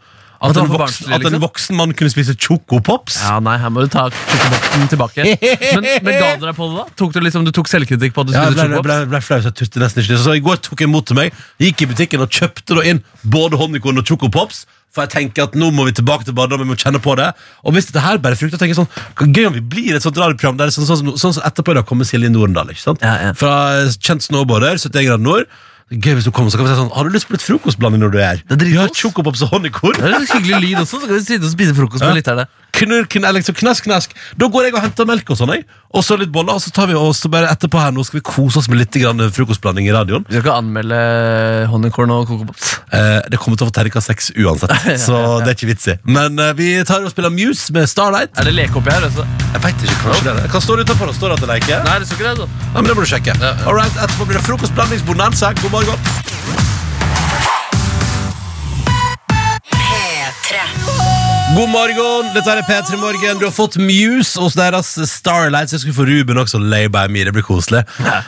S2: At,
S3: det
S2: en
S3: var for
S2: voksen,
S3: barnslig,
S2: at en
S3: liksom?
S2: voksen mann kunne spise Chocopops
S3: Ja, nei, her må du ta kokeboksen tilbake. Men, men ga du deg på det, da? Tok du, liksom, du tok selvkritikk på at du
S2: Ja, jeg ble,
S3: skulle ja,
S2: ble, ble, ble flau, så jeg turte nesten ikke det. Så i går tok jeg mot til meg, gikk i butikken og kjøpte da inn både honningkorn og chocopops. For jeg tenker at nå må vi tilbake til barndommen, vi må kjenne på det. Og hvis dette her bare frukter, tenker jeg sånn, hva gøy om vi blir et sånt radioprogram der det er sånn, sånn, som- sånn som etterpå i dag kommer Silje Nordendal, ikke sant?
S3: Ja, ja.
S2: Fra kjent snowboarder, 71 grader nord. Gøy hvis du kommer, så kan vi si sånn, har du lyst på litt frokostblanding når du er?
S3: Det er dritgodt.
S2: Vi har chocopops og
S3: Det
S2: honningkorn.
S3: er litt hyggelig lyd også, så kan vi sitte og spise frokost med
S2: Ja.
S3: litt av det.
S2: Knurr, knurr, liksom knask, knask. Da går jeg og henter melk og sånn, jeg. Og så litt boller, og så tar vi oss bare etterpå her, nå skal vi kose oss med litt grann frokostblanding i radioen.
S3: Vi skal ikke anmelde honningkorn og kokepops.
S2: Eh, det kommer til å få terka seks uansett, så det er ikke vits i. Men eh, vi tar og spiller Muse med Starlight.
S3: Er det lekeoppi her? Også?
S2: Jeg vet ikke, kanskje det er det. Hva står det utenfor? Står det at det leker?
S3: altså? Nei, det står ikke det. altså.
S2: Nei, men det må du sjekke.
S3: Ja, ja.
S2: All right, etterpå blir det frokostblandingsbonanza. God morgen.
S4: P3
S2: God morgen, dette er P3 Morgen. Du har fått Muse hos deres Starlight. Så jeg skulle få Ruben også. Lay by me, det blir koselig.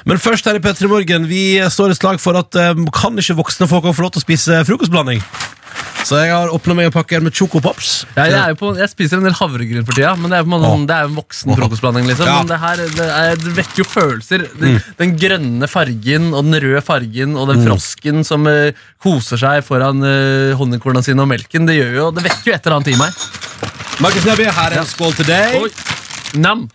S2: Men først her i P3 Morgen, vi står et slag for at eh, kan ikke voksne folk få lov til å spise frokostblanding? Så jeg har åpna meg en pakke her med chocopops.
S3: Jeg, jeg, er jo på, jeg spiser en del havregryn for tida, men det er på en måte sånn, det er jo en voksen frokostblanding. liksom
S2: Ja.
S3: Men det her det, er, det vekker jo følelser. Den, den grønne fargen og den røde fargen og den frosken som eh, koser seg foran uh, honningkorna sine og melken, det gjør jo, det vekker jo et eller annet i meg.
S2: Markus Neby, her er en skål til deg.
S3: Oi. Nam.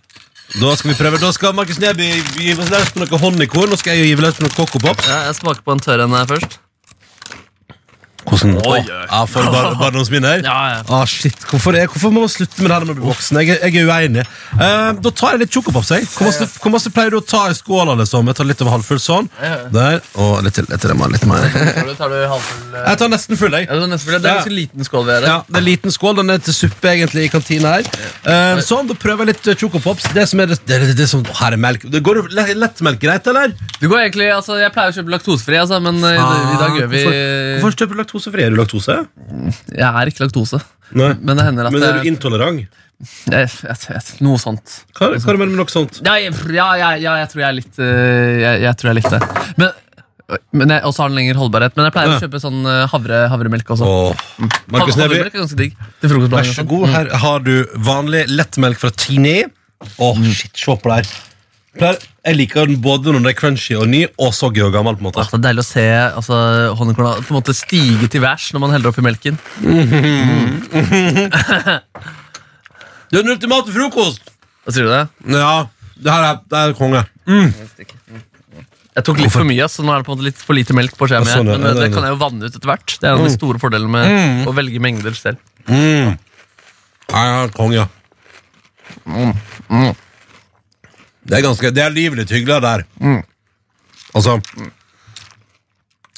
S2: Da skal vi prøve. Da skal Markus Neby give løs på noe honningkorn. Nå skal jeg jo give løs på noe cocopops.
S3: Ja, jeg smaker på en tørr en her først.
S2: Hvordan?
S3: Oi,
S2: Å,
S3: oi.
S2: ja, for bar barndomsminner?
S3: Ja, ja.
S2: Ah, shit. Hvorfor, er, hvorfor må man slutte med det her når man blir voksen? Jeg, er- jeg er uenig. Eh, da tar jeg litt sjokopops. jeg. Hvor masse, hvor masse pleier du å ta i skåla? liksom? Jeg tar litt over halvfull sånn.
S3: Ja.
S2: Der. Og litt til. Litt til den var litt mer.
S3: Tar du, tar du halvfull eh?
S2: Jeg tar nesten full, jeg.
S3: Ja, det er nesten fordi det er en ganske liten skål ved det.
S2: Ja, det er en liten skål. Den er til suppe egentlig i kantina her. Eh, sånn, da prøver jeg litt eh, chocopops. Det som er det, det, det, det som, å, her er melk. Det går jo le- lettmelk greit, eller?
S3: Du går egentlig, altså, Jeg pleier å kjøpe laktosefri, altså, men eh, i dag gjør vi
S2: Hvorfor, hvorfor kjøper du laktosefri? Er du laktose?
S3: Jeg er ikke laktose.
S2: Nei.
S3: Men det hender at
S2: Men er du
S3: jeg,
S2: intolerant?
S3: jeg, jeg, jeg, Noe sånt.
S2: Hva, hva er det med noe sånt?
S3: Ja, jeg, ja, ja, ja jeg tror jeg er litt øh, jeg, jeg tror jeg likte det. Men, men jeg, også har den lenger holdbarhet. Men jeg pleier
S2: Ja.
S3: å kjøpe sånn øh, havre, havremelk også.
S2: Åh, Markus
S3: Havre-
S2: Neby,
S3: Havremelk er ganske digg. Til frokostblanding
S2: vær så
S3: og sånn.
S2: god. Her har du vanlig lettmelk fra Tini. Åh, shit, se på det her. Pleier- Jeg liker den både når den er crunchy og ny, og soggy og gammel. på en måte
S3: Åh, det er deilig å se altså, honningkorna på en måte stige til værs når man heller oppi melken.
S2: Det er den ultimate frokost!
S3: Hva sier du det?
S2: Ja, det her er, det er konge.
S3: Jeg tok litt for mye, så nå er det på en måte litt for lite melk på skjea mi.
S2: Ja, sånn, ja.
S3: men
S2: Ja, det
S3: øh,
S2: Mm. er
S3: det kan jeg jo vanne ut etter hvert. Det er en av de store fordelene med å velge mengder selv.
S2: Ja, ja, konge.
S3: Mm,
S2: Det er ganske, det er livlig hyggelig der.
S3: Mm.
S2: Altså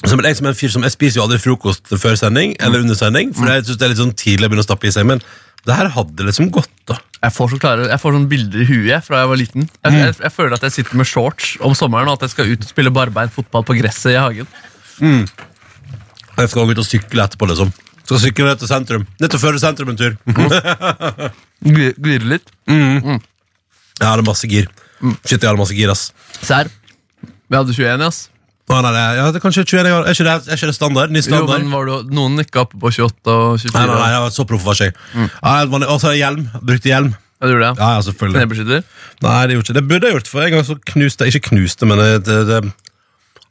S2: som jeg, som er en fyr som, jeg spiser jo aldri frokost før sending eller
S3: Mm.
S2: under sending, for jeg synes det er litt sånn tidlig å begynne å stappe i seg, men det her hadde liksom gått, da.
S3: Jeg får, så klare, jeg får sånne bilder i huet fra jeg var liten. Jeg,
S2: Mm.
S3: jeg, jeg føler at jeg sitter med shorts om sommeren, og at jeg skal ut og spille barbeint fotball på gresset i hagen.
S2: Jeg skal også ut og sykle etterpå, liksom. Skal sykle ned til sentrum. Ned til Førde sentrum en tur.
S3: Mhm. Gli- Glire litt.
S2: Jeg hadde masse gir.
S3: Mm.
S2: Shit, jeg hadde masse gir, ass.
S3: Serr. Vi hadde 21, ass.
S2: Å, nei, nei, ja, det er kanskje 21 år. Er ikke det, er ikke det standard? Ny
S3: Jo,
S2: standard?
S3: men var du, noen nikka oppe på 28 og
S2: Nei,
S3: 24.
S2: nei, nei, jeg var så proff var ikke jeg.
S3: Mm.
S2: Ja, helt vanlig. Og så er det hjelm. Brukte hjelm.
S3: Jeg tror det, ja.
S2: Ja, ja, selvfølgelig.
S3: Knebeskytter.
S2: Nei, det gjorde ikke. Det burde jeg gjort, for en gang så knuste jeg Ikke knuste, men det, det, det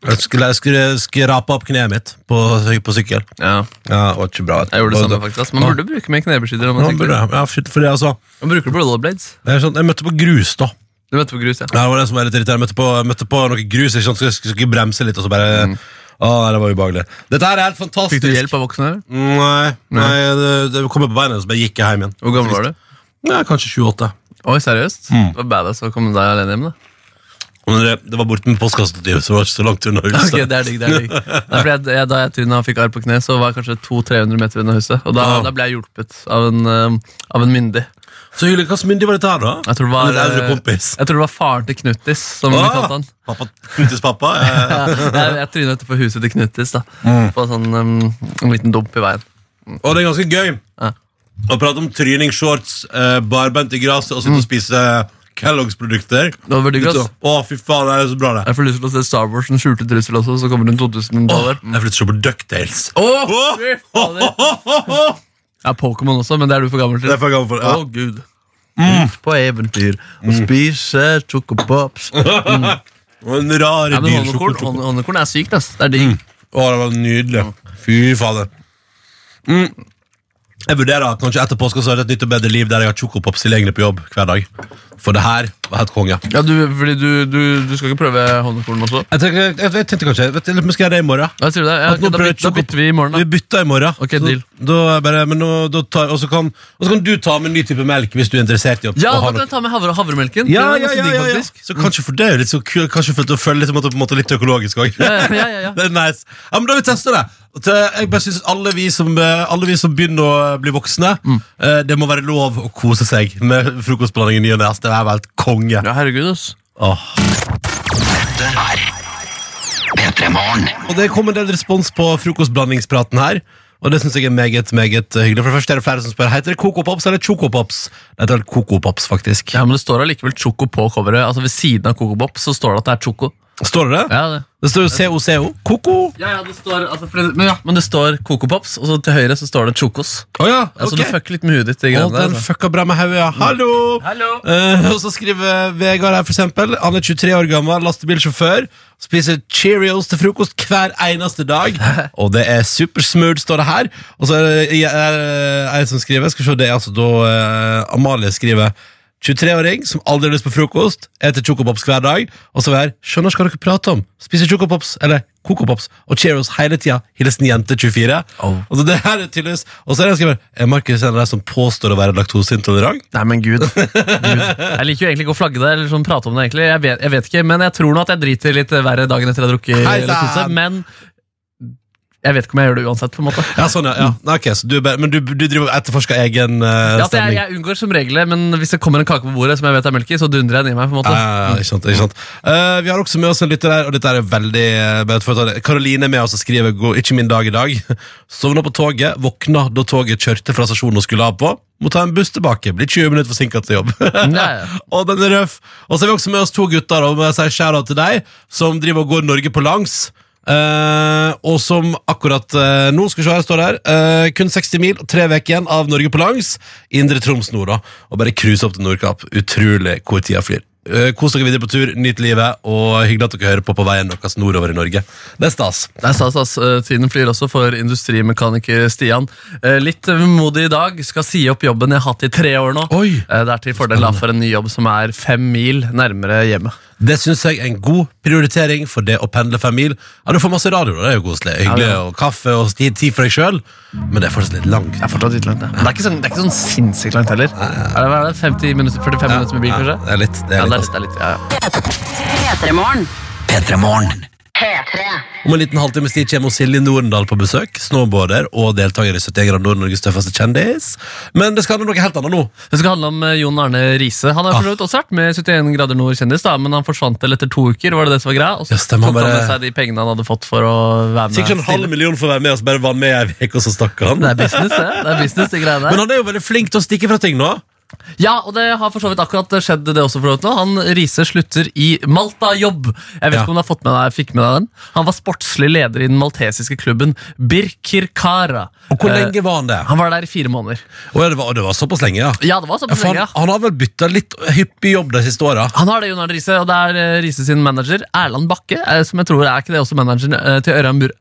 S2: jeg skulle, jeg skulle skrape opp kneet mitt på, på sykkel.
S3: Ja,
S2: Ja, det var ikke bra.
S3: jeg gjorde det samme, faktisk. ass. Man burde bruke mer knebeskytter.
S2: Ja,
S3: om Man,
S2: man burde
S3: sykler.
S2: det. Ja, shit, fordi altså
S3: man bruker det på rollerblades.
S2: det er sånn, Jeg møtte på grus, da.
S3: Du møtte på grus, ja.
S2: Ja, det var det som var litt irriterende. Jeg møtte på, jeg møtte på noe grus, ikke sant? så jeg skulle, skulle bremse litt, og så bare Å, nei, det var ubehagelig. Dette her er helt fantastisk.
S3: Mm. Fikk du hjelp av voksne? eller?
S2: Nei, nei det, det kom på beina, så bare gikk jeg hjem igjen.
S3: Hvor gammel var du?
S2: Ja, kanskje 28.
S3: Oi, seriøst?
S2: Mm.
S3: Det var badass å komme deg alene hjem, da.
S2: Men det, det var borte med postkastativet, så det var ikke så langt unna huset.
S3: Ok, det er digg, det er digg. Nei, fordi jeg, jeg, da jeg tryna fikk arr på kne, så var jeg kanskje 200-300 meter unna huset. Og da,
S2: Ja.
S3: da ble jeg hjulpet av en, eh, av en myndig.
S2: Så hyggelig. Hvilken myndig var dette her, da?
S3: Jeg tror, det var,
S2: En eldre
S3: eh,
S2: kompis.
S3: jeg tror det var faren til Knuttis, som vi
S2: Ah,
S3: kalte han.
S2: Pappa, Knutes pappa? Eh,
S3: Jeg, jeg tryna etterpå huset til Knuttis, da.
S2: Mm.
S3: På sånn, eh, en liten dump i veien.
S2: og det er ganske gøy
S3: Ja.
S2: å prate om tryning, shorts, eh, barbeint i gresset og sitte og spise Kellogg's produkter.
S3: Mm. Det var digg, ass.
S2: Å, fy faen, det er så bra, det.
S3: Jeg får lyst til å se Star Wars den skjulte trussel også, så kommer det en 2000 dollar.
S2: Jeg flytter ikke på Ducktails.
S3: Åh,
S2: Åh!
S3: fy fader. Jeg har Pokémon også, men det er du for gammel til.
S2: Det er for gammel for
S3: Å,
S2: ja. Mm.
S3: gud. Ut på eventyr og spise chocopops.
S2: Og En rar
S3: Ja, men
S2: dyr Mm.
S3: honnekorn,
S2: sjokolade.
S3: honne- honnekorn er sykt, ass. Det er digg.
S2: Å, det var nydelig. Fy fader. Mm. Jeg vurderer kanskje etter påske så er det et nytt og bedre liv der jeg har chocopops tilgjengelig på jobb hver dag. For det her var helt konge.
S3: Ja, du, fordi du, du, du skal ikke prøve honnekorn også?
S2: Jeg tenkte, jeg, jeg tenkte kanskje vet, du, Vi skal gjøre det i morgen.
S3: Ja, sier du det? Ja,
S2: At nå
S3: ok, da,
S2: prøver
S3: byt, da
S2: Choco-
S3: bytter vi i morgen,
S2: Vi
S3: da.
S2: bytter i morgen.
S3: Ok,
S2: Så
S3: deal.
S2: Da er bare, men nå, da tar, og, så kan, og så kan du ta med en ny type melk hvis du er interessert i å
S3: Ja,
S2: å ha
S3: da kan
S2: noe.
S3: jeg ta med havre, havremelken.
S2: Ja,
S3: Den er
S2: ja,
S3: ganske
S2: ja,
S3: digg,
S2: ja, ja.
S3: faktisk.
S2: Så kanskje for det er jo litt så kul, Kanskje for å føle litt, på en måte- på en måte litt økologisk òg.
S3: Ja, ja, ja, ja.
S2: Det er nice. Ja, men Da har vi testa det. Og til- Jeg bare synes alle vi som, eh, alle vi som begynner å bli voksne,
S3: Mm.
S2: eh, det må være lov å kose seg med frokostblanding i ny og ne. ass. Det er vel helt konge.
S3: Ja, herregud, ass.
S2: Åh.
S1: Dette er P3 Morgen.
S2: Og det kom en del respons på frokostblandingspraten her. Og det syns jeg er meget meget eh, hyggelig. For det første er det flere som spør Heter det Coco Pops eller Choco Pops. Det heter vel Coco Pops, faktisk.
S3: Ja, men det står allikevel choco på coveret. Altså Ved siden av Coco Pop så står det at det er choco.
S2: Står det det?
S3: Ja, det.
S2: Det står jo COCO. Koko.
S3: Ja, ja, det står, altså, fordi, men, ja, men det står Coco Pops, og så til høyre så står det Chocos.
S2: Å ja,
S3: Ja, Så
S2: ok.
S3: du fucker litt med huet ditt.
S2: Å,
S3: i greiene der,
S2: Altså, den
S3: altså.
S2: fucka bra med hodet, ja. Hallo!
S3: Hallo!
S2: Eh, og så skriver Vegard her, for eksempel. Han er 23 år gammel, lastebilsjåfør. Spiser Cheerios til frokost hver eneste dag. Og det er supersmooth, står det her. Og så er det eh, ei som skriver. Skal vi se, det er altså da eh, Amalie skriver. 23-åring som aldri har lyst på frokost, eter chocopops hver dag. Og så er skjønner ikke hva dere prater om. Spiser chocopops, eller cocopops, og Cheerios hele tida. Hilsen jente 24.
S3: Oh.
S2: Og så det her er tydeligvis Og så er det en skriver Er Markus en av de som påstår å være laktoseintolerant?
S3: Nei, men Gud. Gud. Jeg liker jo egentlig ikke å flagge det, eller sånn prate om det. egentlig jeg vet, jeg vet ikke, Men jeg tror nå at jeg driter litt verre dagen etter jeg har drukket
S2: Hei, sann!
S3: laktose. Men jeg vet ikke om jeg gjør det uansett. på en måte
S2: Ja, sånn, ja. ja. Nei, ok, så du, er bare- men du, du driver og etterforsker egen eh,
S3: ja, at jeg,
S2: stemning?
S3: jeg unngår som regel det, men hvis det kommer en kake på bordet som jeg vet er melk i, så dundrer jeg den i meg. på
S2: Ja,
S3: en måte
S2: ja, ja, ikke sant, ikke sant. Eh, vi har også med oss en lytter her, og dette er veldig eh, bare for å ta det. Karoline er med oss og skriver «God- 'Ikke min dag i dag'. Sovna på toget, våkna da toget kjørte fra stasjonen hun skulle av på. Må ta en buss tilbake, blir 20 minutter forsinka til jobb.
S3: Nei.
S2: og den er røff. Og så har vi også med oss to gutter, og må jeg si shout-out til deg, som driver og går Norge på langs. Eh, og som akkurat eh, nå skal vi se her, står det her eh, Kun 60 mil og tre uker igjen av Norge på langs. Indre Troms nå, da. Og bare cruise opp til Nordkapp. Utrolig hvor tida flyr. Eh, kos dere videre på tur, nyt livet, og hyggelig at dere hører på på veien deres nordover i Norge. Det er stas.
S3: Det er stas, ass. Eh, Tiden flyr også for industrimekaniker Stian. Eh, Litt vemodig i dag. Skal si opp jobben jeg har hatt i tre år nå.
S2: Oi.
S3: Eh, Det er til fordel da for en ny jobb som er fem mil nærmere hjemmet.
S2: Det syns jeg er en god prioritering for det å pendle fem mil. Ja, Du får masse radio, da. det er jo koselig. Hyggelig,
S3: Ja, ja.
S2: og kaffe og tid tid for deg sjøl, men det er fortsatt litt langt.
S3: Det er fortsatt litt langt, ja. Men det er ikke sånn, det er ikke sånn sinnssykt langt heller. Er det, hva er det 50 minutter, 45 minutter med bil, kanskje?
S2: det er litt. Det
S3: Ja,
S2: er litt
S3: det er litt, det er litt ja, ja.
S4: P3morgen.
S1: P3morgen.
S2: Om en liten halvtimes tid kommer Silje Nordendal på besøk. Snowboarder og deltaker i 71 grader Nord-Norges tøffeste kjendis. Men det skal handle om noe helt annet nå.
S3: Det skal handle om eh, Jon Arne Riise. Han
S2: Ah.
S3: har for så vidt også vært med 71 grader nord kjendis, da, men han forsvant vel etter to uker. var det det som var greia? Og så
S2: Ja, stemmer,
S3: tok han
S2: bare-
S3: med seg de pengene han hadde fått for å være med.
S2: Sikkert en halv
S3: stille.
S2: million for å være med oss, bare var med i ei uke, og så stakk han.
S3: Det er business, det. det er business, de greiene der.
S2: Men han er jo veldig flink til å stikke fra ting nå.
S3: Ja, og det har for så vidt akkurat skjedd det også for så vidt nå. Han Riise slutter i Malta-jobb. Jeg vet
S2: Ja.
S3: ikke om du har fått med deg, fikk med deg den. Han var sportslig leder i den maltesiske klubben Birkirkara.
S2: Og hvor
S3: Eh,
S2: lenge var han det?
S3: Han var der i fire måneder.
S2: Å, ja, det, var, det var såpass lenge, ja.
S3: Ja, det var såpass
S2: for
S3: lenge.
S2: han,
S3: ja.
S2: han har vel bytta litt hyppig jobb de siste åra.
S3: Han har det, Jon Arne Riise, og det er eh, Riise sin manager, Erland Bakke, eh, som jeg tror er ikke det også manageren eh, til Ørjan Burre.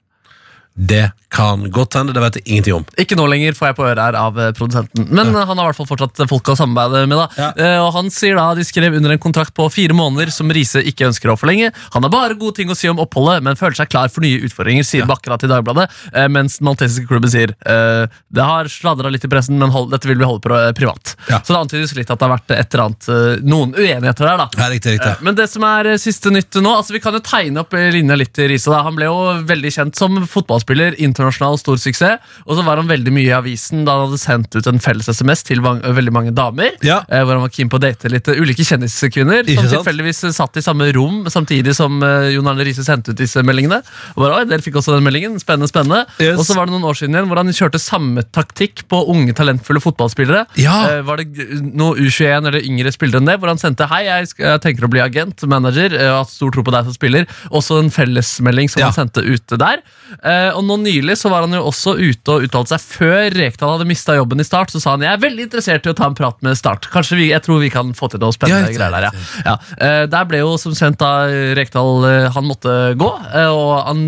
S2: Det kan godt hende, det vet jeg ingenting om.
S3: Ikke nå lenger, får jeg på øret her av eh, produsenten. Men eh, han har i hvert fall fortsatt eh, folk å samarbeide med. da.
S2: Ja.
S3: Eh, Og han sier da de skrev under en kontrakt på fire måneder som Riise ikke ønsker å forlenge. Han har bare gode ting å si om oppholdet, men føler seg klar for nye utfordringer, sier Bakke da til Dagbladet. eh, Mens den maltesiske klubben sier eh, det har sladra litt i pressen, men hold, dette vil vi holde på eh, privat.
S2: Ja.
S3: Så det antydes litt at det har vært et eller annet, eh, noen uenigheter der, da.
S2: Ja, riktig, riktig.
S3: Eh, Men det som er eh, siste nytt nå altså Vi kan jo tegne opp eh, linja litt til Riise. da. Han ble jo veldig kjent som fotballspiller, internasjonal stor suksess. Og så var han veldig mye i avisen da han hadde sendt ut en felles SMS til van- veldig mange damer.
S2: Ja.
S3: eh, Hvor han var keen på å date litt eh, ulike kjendiskvinner.
S2: Ikke
S3: Som
S2: sant?
S3: tilfeldigvis eh, satt i samme rom samtidig som eh, Jon Arne Riise sendte ut disse meldingene. Og bare, Oi, dere fikk også den meldingen. Spennende, spennende.
S2: Yes.
S3: Og så var det noen år siden igjen hvor han kjørte samme taktikk på unge, talentfulle fotballspillere.
S2: Ja.
S3: Eh, var det g- noe U21 eller yngre spillere enn det, hvor han sendte hei, jeg, sk- jeg tenker å bli agent, manager, eh, og har stor tro på deg som spiller. Også en fellesmelding som
S2: Ja.
S3: han sendte ute der. Eh, og nå nylig så var han jo også ute og uttalte seg før Rekdal hadde mista jobben i Start. Så sa han jeg er veldig interessert i å ta en prat med Start. Kanskje vi, jeg tror vi kan få til noe spennende
S2: Ja,
S3: greier der, ja. ja. Eh, der ble jo som kjent da Rekdal eh, Han måtte gå, eh, og han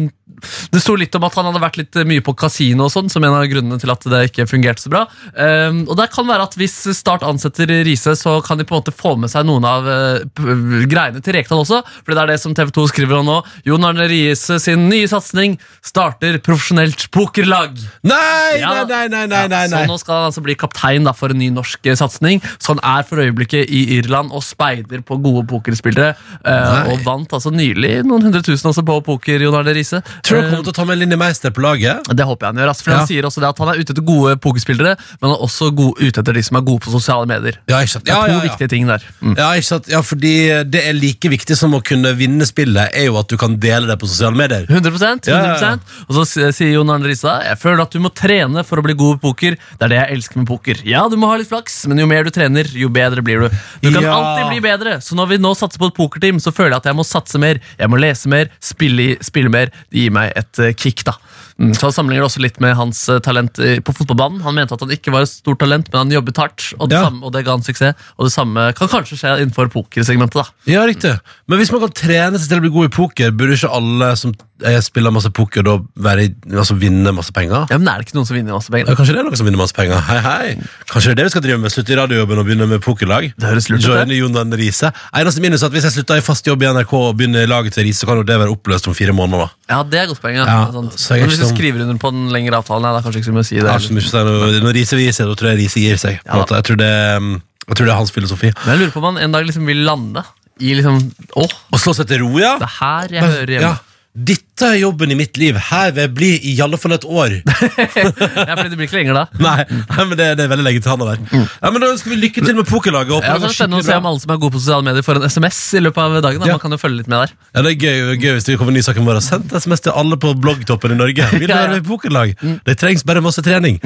S3: det sto litt om at han hadde vært litt eh, mye på kasino og sånn, som en av grunnene til at det ikke fungerte så bra. Ehm, og det kan være at hvis Start ansetter Riise, så kan de på en måte få med seg noen av eh, p- greiene til Rekdal også, for det er det som TV 2 skriver om nå. Jon Arne Riise sin nye satsing starter profesjonelt pokerlag.
S2: Nei,
S3: Ja.
S2: nei, nei, nei, nei, nei,
S3: Ja,
S2: nei.
S3: Så nå skal han altså bli kaptein da, for en ny norsk eh, satsing. Så han er for øyeblikket i Irland og speider på gode pokerspillere. eh,
S2: Nei.
S3: og vant altså nylig noen hundre tusen også på poker, Jon Arne Riise.
S2: Tror du han kommer til å ta med Linni Meister på laget?
S3: Det håper jeg han gjør. ass, for
S2: Ja.
S3: Han sier også det at han er ute etter gode pokerspillere, men han er også god, ute etter de som er gode på sosiale medier.
S2: Ja, ikke sant?
S3: Det er
S2: Ja,
S3: to
S2: ja, ja.
S3: viktige ting der. Mm.
S2: Ja, ikke sant? ja, fordi det er like viktig som å kunne vinne spillet, er jo at du kan dele det på sosiale medier.
S3: 100%, 100%
S2: Ja, ja, ja.
S3: Og så s- sier Jon Arne Risa Jeg føler at du må trene for å bli god i poker. Det er det jeg elsker med poker. Ja, du må ha litt flaks, men jo mer du trener, jo bedre blir du. Du kan
S2: Ja.
S3: alltid bli bedre, så når vi nå satser på et pokerteam, så føler jeg at jeg må satse mer. Jeg må lese mer, spille, i- spille mer. Det gir meg et eh, kick, da. Mm, så Han sammenligner det også litt med hans eh, talent eh, på fotballbanen. Han mente at han ikke var et stort talent, men han jobbet hardt, og det,
S2: Ja.
S3: samme, og det ga han suksess. Og det samme kan kanskje skje innenfor pokersegmentet, da.
S2: Ja, riktig. Men hvis man kan trene seg til å bli god i poker, burde ikke alle som eh, spiller masse poker, da være, i- altså, vinne masse penger?
S3: Ja, men er det ikke noen som vinner masse penger?
S2: Ja, kanskje det er noen som vinner masse penger. Hei, hei. Kanskje det er det vi skal drive med. Slutte i radiojobben og begynne med pokerlag.
S3: Det høres lurt ut,
S2: Joine Jonan Riise. Eneste minus er at hvis jeg slutter i fast jobb i NRK og begynner i laget til Riise, så kan jo det være oppløst om fire måneder.
S3: Ja, det er godt poeng. Ja.
S2: Ja,
S3: Det er sant.
S2: så jeg er
S3: Men
S2: ikke
S3: hvis du
S2: sånn-
S3: skriver under på den lengre avtalen, nei, da er det kanskje ikke så mye å si det.
S2: Det er
S3: heller.
S2: så mye å si. Når- Når Riise gir seg, da tror jeg Riise gir seg. På en
S3: Ja,
S2: måte.
S3: da.
S2: Jeg tror det, mm, jeg tror det er hans filosofi.
S3: Men jeg lurer på om han en dag liksom vil lande i liksom Åh,
S2: Å slå seg til ro, ja.
S3: det er her jeg hører hjemme.
S2: ja. Dette er jobben i mitt liv. Her vil jeg bli i alle fall et år.
S3: Ja, fordi det blir ikke lenger da.
S2: Nei, nei men det, det er veldig lenge til han er der. Ja, men Da ønsker vi lykke til med pokerlaget. Håper
S3: Mm. Ja,
S2: det går
S3: så er det spennende å
S2: skikkelig
S3: se
S2: bra.
S3: om alle som er gode på sosiale medier, får en SMS i løpet av dagen. Da.
S2: Ja.
S3: Man kan jo følge litt med der.
S2: Ja, det er gøy, gøy hvis det kommer en ny sak om vår. Send SMS til alle på bloggtoppen i Norge. Vil du
S3: Ja, Mm. ja.
S2: være med i pokerlag? Det trengs bare masse trening.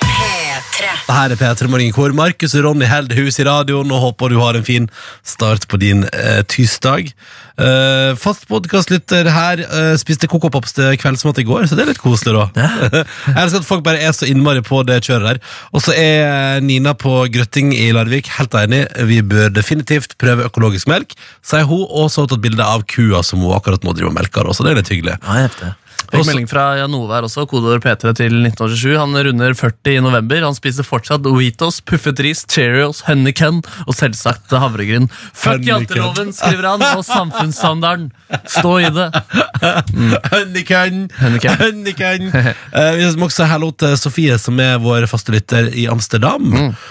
S4: P3
S2: Det her er P3 Morgen, hvor Markus og Ronny holder hus i radioen og håper du har en fin start på din eh, tirsdag. Eh, fast podkastlytter her eh, spiste kokopops til kveldsmat i går, så det er litt koselig, da. Jeg elsker at folk bare er så innmari på det kjøret der. Og så er eh, Nina på Grøtting i Larvik helt enig, vi bør definitivt prøve økologisk melk, sier hun, og så har hun tatt bilde av kua som hun akkurat nå driver og melker, da, så det er litt hyggelig.
S3: Ja, heftig. Fikk
S2: Også-
S3: melding fra Janove her også, kodeord P3 til 1987. Han runder 40 i november. Han spiser fortsatt Oitos, puffet ris, Cheerios, honeycun og selvsagt havregryn. Fuck
S2: Honeycun.
S3: janteloven, skriver han, og samfunnsstandarden. Stå i det.
S2: Henniken!
S3: Mm.
S2: Eh,
S3: Henniken.
S2: vi må også si hallo til Sofie, som er vår faste lytter i Amsterdam.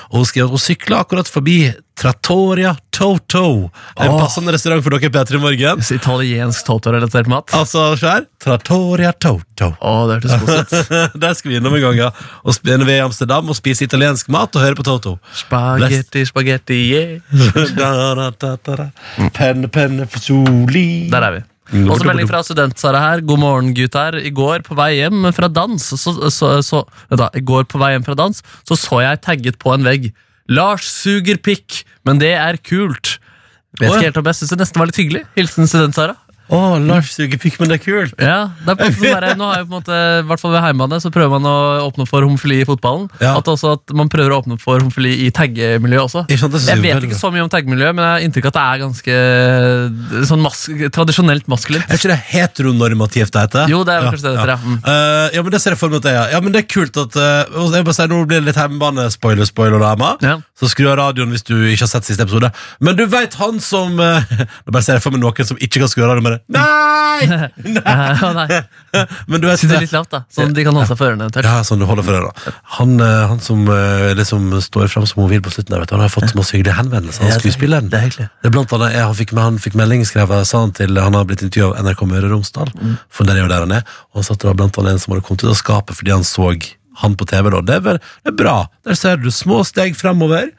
S2: Og Hun skriver at hun sykla akkurat forbi Trattoria Toto. En
S3: Åh.
S2: passende restaurant for dere, Petter, i morgen.
S3: Italiensk totorelatert mat.
S2: Altså, skjær. Trattoria Toto.
S3: Å, det hørtes godt ut.
S2: Der skal vi innom en gang, ja. Og sp- når vi er i Amsterdam og spiser italiensk mat og hører på Toto.
S3: Spagetti, spagetti, yeah.
S2: Da, da, da, da, da. Penne, penne, Mm. fasoli.
S3: Der er vi. Også melding fra student-Sara her. God morgen, gutter. I går på vei hjem fra dans så, så, så, vent da, I går på vei hjem fra dans så så jeg tagget på en vegg. Lars suger pikk, men det er kult.
S2: Å,
S3: Vet
S2: ja.
S3: ikke helt om jeg synes det nesten var litt hyggelig. Hilsen student-Sara.
S2: Å, Lars suger pikk, men det er kult.
S3: Ja, det er på en måte sånn der, Nå har jeg på en måte, i hvert fall ved heimbane, så prøver man å åpne opp for homofili i fotballen.
S2: Ja.
S3: At også at man prøver å åpne opp for homofili i taggemiljøet også.
S2: Ikke sant, det synes
S3: Jeg
S2: jeg er
S3: vet
S2: veldig
S3: ikke
S2: bra.
S3: så mye om taggemiljøet, men jeg har inntrykk av at det er ganske sånn mas tradisjonelt maskulint.
S2: Er ikke det heteronormativt det heter?
S3: Jo, det er vel kanskje det det heter,
S2: ja.
S3: ja. Mm.
S2: Eh, ja, men det ser jeg for meg at det er. Ja, men det er kult at eh, og jeg bare sier, Nå blir det litt hjemmebane-spoiler, spoiler, da, Emma.
S3: Ja.
S2: Så skru av radioen hvis du ikke har sett siste episode. Men du veit han som eh, Nå bare ser jeg for meg noen som ikke kan skru av radioen, bare Nei!
S3: Ja, Eh, nei,
S2: Men du vet
S3: Sitter litt lavt, da, sånn de kan holde seg for ørene. eventuelt.
S2: ja, sånn du holder for deg, da. Han, eh, han som eh, liksom står fram som homofil på slutten, der, vet du, han har fått så masse hyggelige henvendelser. Han
S3: Ja, det er-
S2: skuespilleren.
S3: det er hyggelig.
S2: Det er blant annet, jeg, han, fikk, han fikk melding, skrev jeg, sa han til Han har blitt intervjuet av NRK Møre og Romsdal,
S3: Mm.
S2: for det er jo der han er. Og han satt det var blant annet en som hadde kommet ut av skapet fordi han så han på TV. Da. Det, er, vel- det er bra. Der ser du små steg fremover.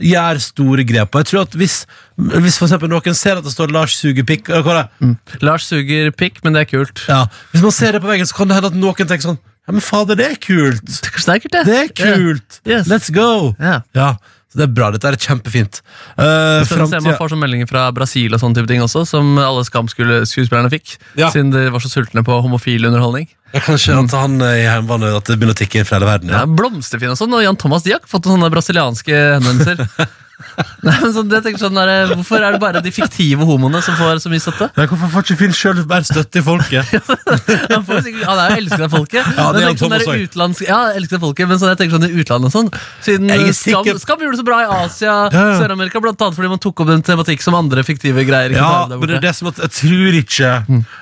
S2: Gjør store grep. Og jeg tror at hvis, hvis for eksempel noen ser at det står Lars suger pikk eller hva det er,
S3: Mm. Lars suger pikk, men det er kult.
S2: ja, Hvis man ser det på veggen, så kan det hende at noen tenker sånn Ja, men fader, det er kult!
S3: Kanskje det er kult, det.
S2: Det er kult!
S3: Yeah. Yes.
S2: Let's go!
S3: Ja.
S2: Ja, så Det er bra. Dette er kjempefint. Uh,
S3: Så ser Man får sånne meldinger fra Brasil og sånne type ting også, som alle Skam-skuespillerne fikk.
S2: Ja.
S3: Siden de var så sultne på homofil underholdning.
S2: Kanskje at han eh, i hjemmebane At det begynner å tikke inn fra hele verden.
S3: Ja,
S2: Ja.
S3: Blomsterfin og sånn, og Jan Thomas de har ikke fått noen sånne brasilianske henvendelser. Nei, men sånn, jeg tenker sånn der, Hvorfor er det bare de fiktive homoene som får så mye støtte?
S2: Ja, Hvorfor får ikke Finn sjøl mer støtte i folket?
S3: Han, får sikkert, han er jo elsket av folket.
S2: Ja, det er
S3: men
S2: Jan
S3: sånn der
S2: Thomas også.
S3: utlandsk- ja, elsket av folket, men sånn, jeg tenker sånn i utlandet og sånn Siden
S2: Jeg er
S3: Skam,
S2: sikker-
S3: Skam gjorde det så bra i Asia,
S2: Ja, ja.
S3: Sør-Amerika, blant annet fordi man tok opp en tematikk som andre fiktive greier. ikke
S2: Ja,
S3: tar der
S2: men det er
S3: borte. Mm.
S2: det som at jeg tror ikke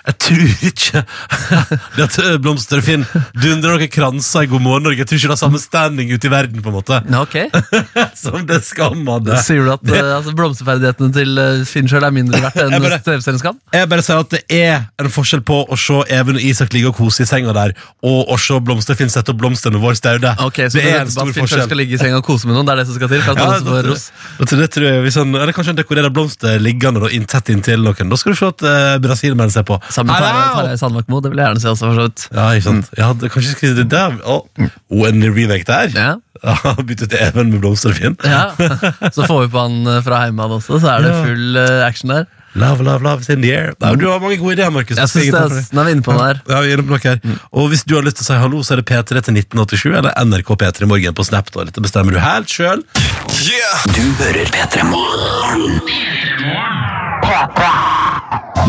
S2: Jeg tror ikke Det at eh, Blomster og Finn dundrer noen kranser i God morgen Norge. Jeg tror ikke det har samme standing ute i verden på en måte
S3: Ja, ok.
S2: som det Skam hadde. det.
S3: Sier du at eh, altså, blomsterferdighetene til eh, Finn selv er mindre verdt enn
S2: Jeg bare-
S3: TV-serieskap?
S2: Jeg bare sier at det er en forskjell på å se Even og Isak ligge og kose i senga der, og å se Blomsterfinn sette opp blomstene våre staude.
S3: Ok, så
S2: det er en
S3: venter på
S2: stor
S3: at Finn selv
S2: forskjell.
S3: skal ligge i senga og kose med noen? Det er det som skal til? for at
S2: Ja,
S3: han
S2: det,
S3: også får
S2: tror jeg.
S3: ros.
S2: det, tror- det tror jeg, hvis han, eller Kanskje han dekorerer blomster liggende da, inn tett inntil noen. Da skal du se at uh, Brasil-menn ser på.
S3: Sammen med Tarjei-
S2: Au!
S3: Tarjei Sandmark Moe, det vil jeg gjerne se også. for så vidt.
S2: Ja, ikke sant? Ja, det, kanskje skrive det der. Å, oh, en remake der.
S3: Ja.
S2: Ja, Bytte til Even med Blomsterfinn.
S3: Ja. Så får vi på han eh, fra Heimehan også, så er det
S2: Ja.
S3: full eh, action der.
S2: Love, love, love is in the air. Nei, men du har mange gode ideer, Markus.
S3: Mm. Jeg synes det, er- den er vi inne på den her.
S2: Ja, vi er inne på noe her. Og hvis du har lyst til å si hallo, så er det P3 til 1987 eller NRK P3 i morgen på Snap. da. Dette bestemmer du helt sjøl.
S1: Du hører P3 Morgen.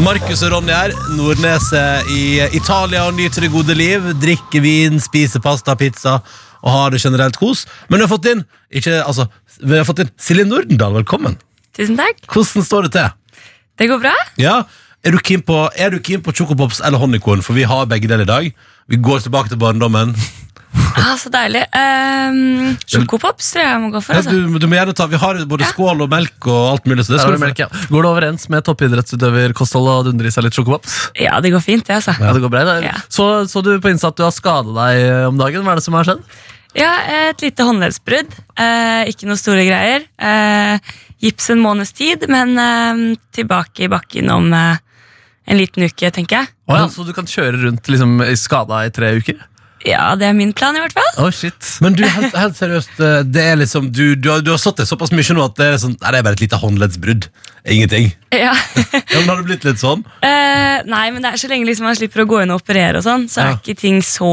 S2: Markus og Ronny her. Nordnes er i Italia og nyter det gode liv. Drikker vin, spiser pasta, pizza og har det generelt kos. Men vi har fått inn ikke, altså, vi har fått inn Silje Nordendal, velkommen.
S5: Tusen takk.
S2: Hvordan står det til?
S5: Det går bra?
S2: Ja, er du keen på, er du keen på chocopops eller honningkorn? For vi har begge deler i dag. Vi går tilbake til barndommen.
S5: Ah, så deilig. Um, Sjokopops tror jeg jeg må gå for.
S2: Ja,
S5: Altså.
S2: du, du må gjerne ta, vi har både skål og melk og alt mulig. Så det
S3: Der
S2: skal
S3: har
S2: du
S3: du
S2: få.
S3: melk, ja. Går det overens med toppidrettsutøverkosthold og dundre i seg litt sjokopops?
S5: Ja, det går fint, det, altså.
S3: Ja, det går bra. det.
S5: Ja.
S3: Så, så du på Insta at du har skada deg eh, om dagen. Hva er det som har skjedd?
S5: Ja, et lite håndleddsbrudd. Eh, ikke noe store greier. Eh, gips en måneds tid, men eh, tilbake i bakken om eh, en liten uke, tenker jeg.
S3: Å ja, så du kan kjøre rundt liksom, skada i tre uker?
S5: Ja, det er min plan, i hvert fall.
S3: Oh, shit.
S2: Men du, helt, helt seriøst, eh, det er liksom, du, du, har, du har satt deg såpass mye nå at det er, sånn, nei, det er bare et lite håndleddsbrudd. Ingenting.
S5: Ja.
S2: Ja, men har det blitt litt sånn?
S5: Eh, nei, men det er så lenge liksom man slipper å gå inn og operere og sånn, så
S2: Ja.
S5: er ikke ting så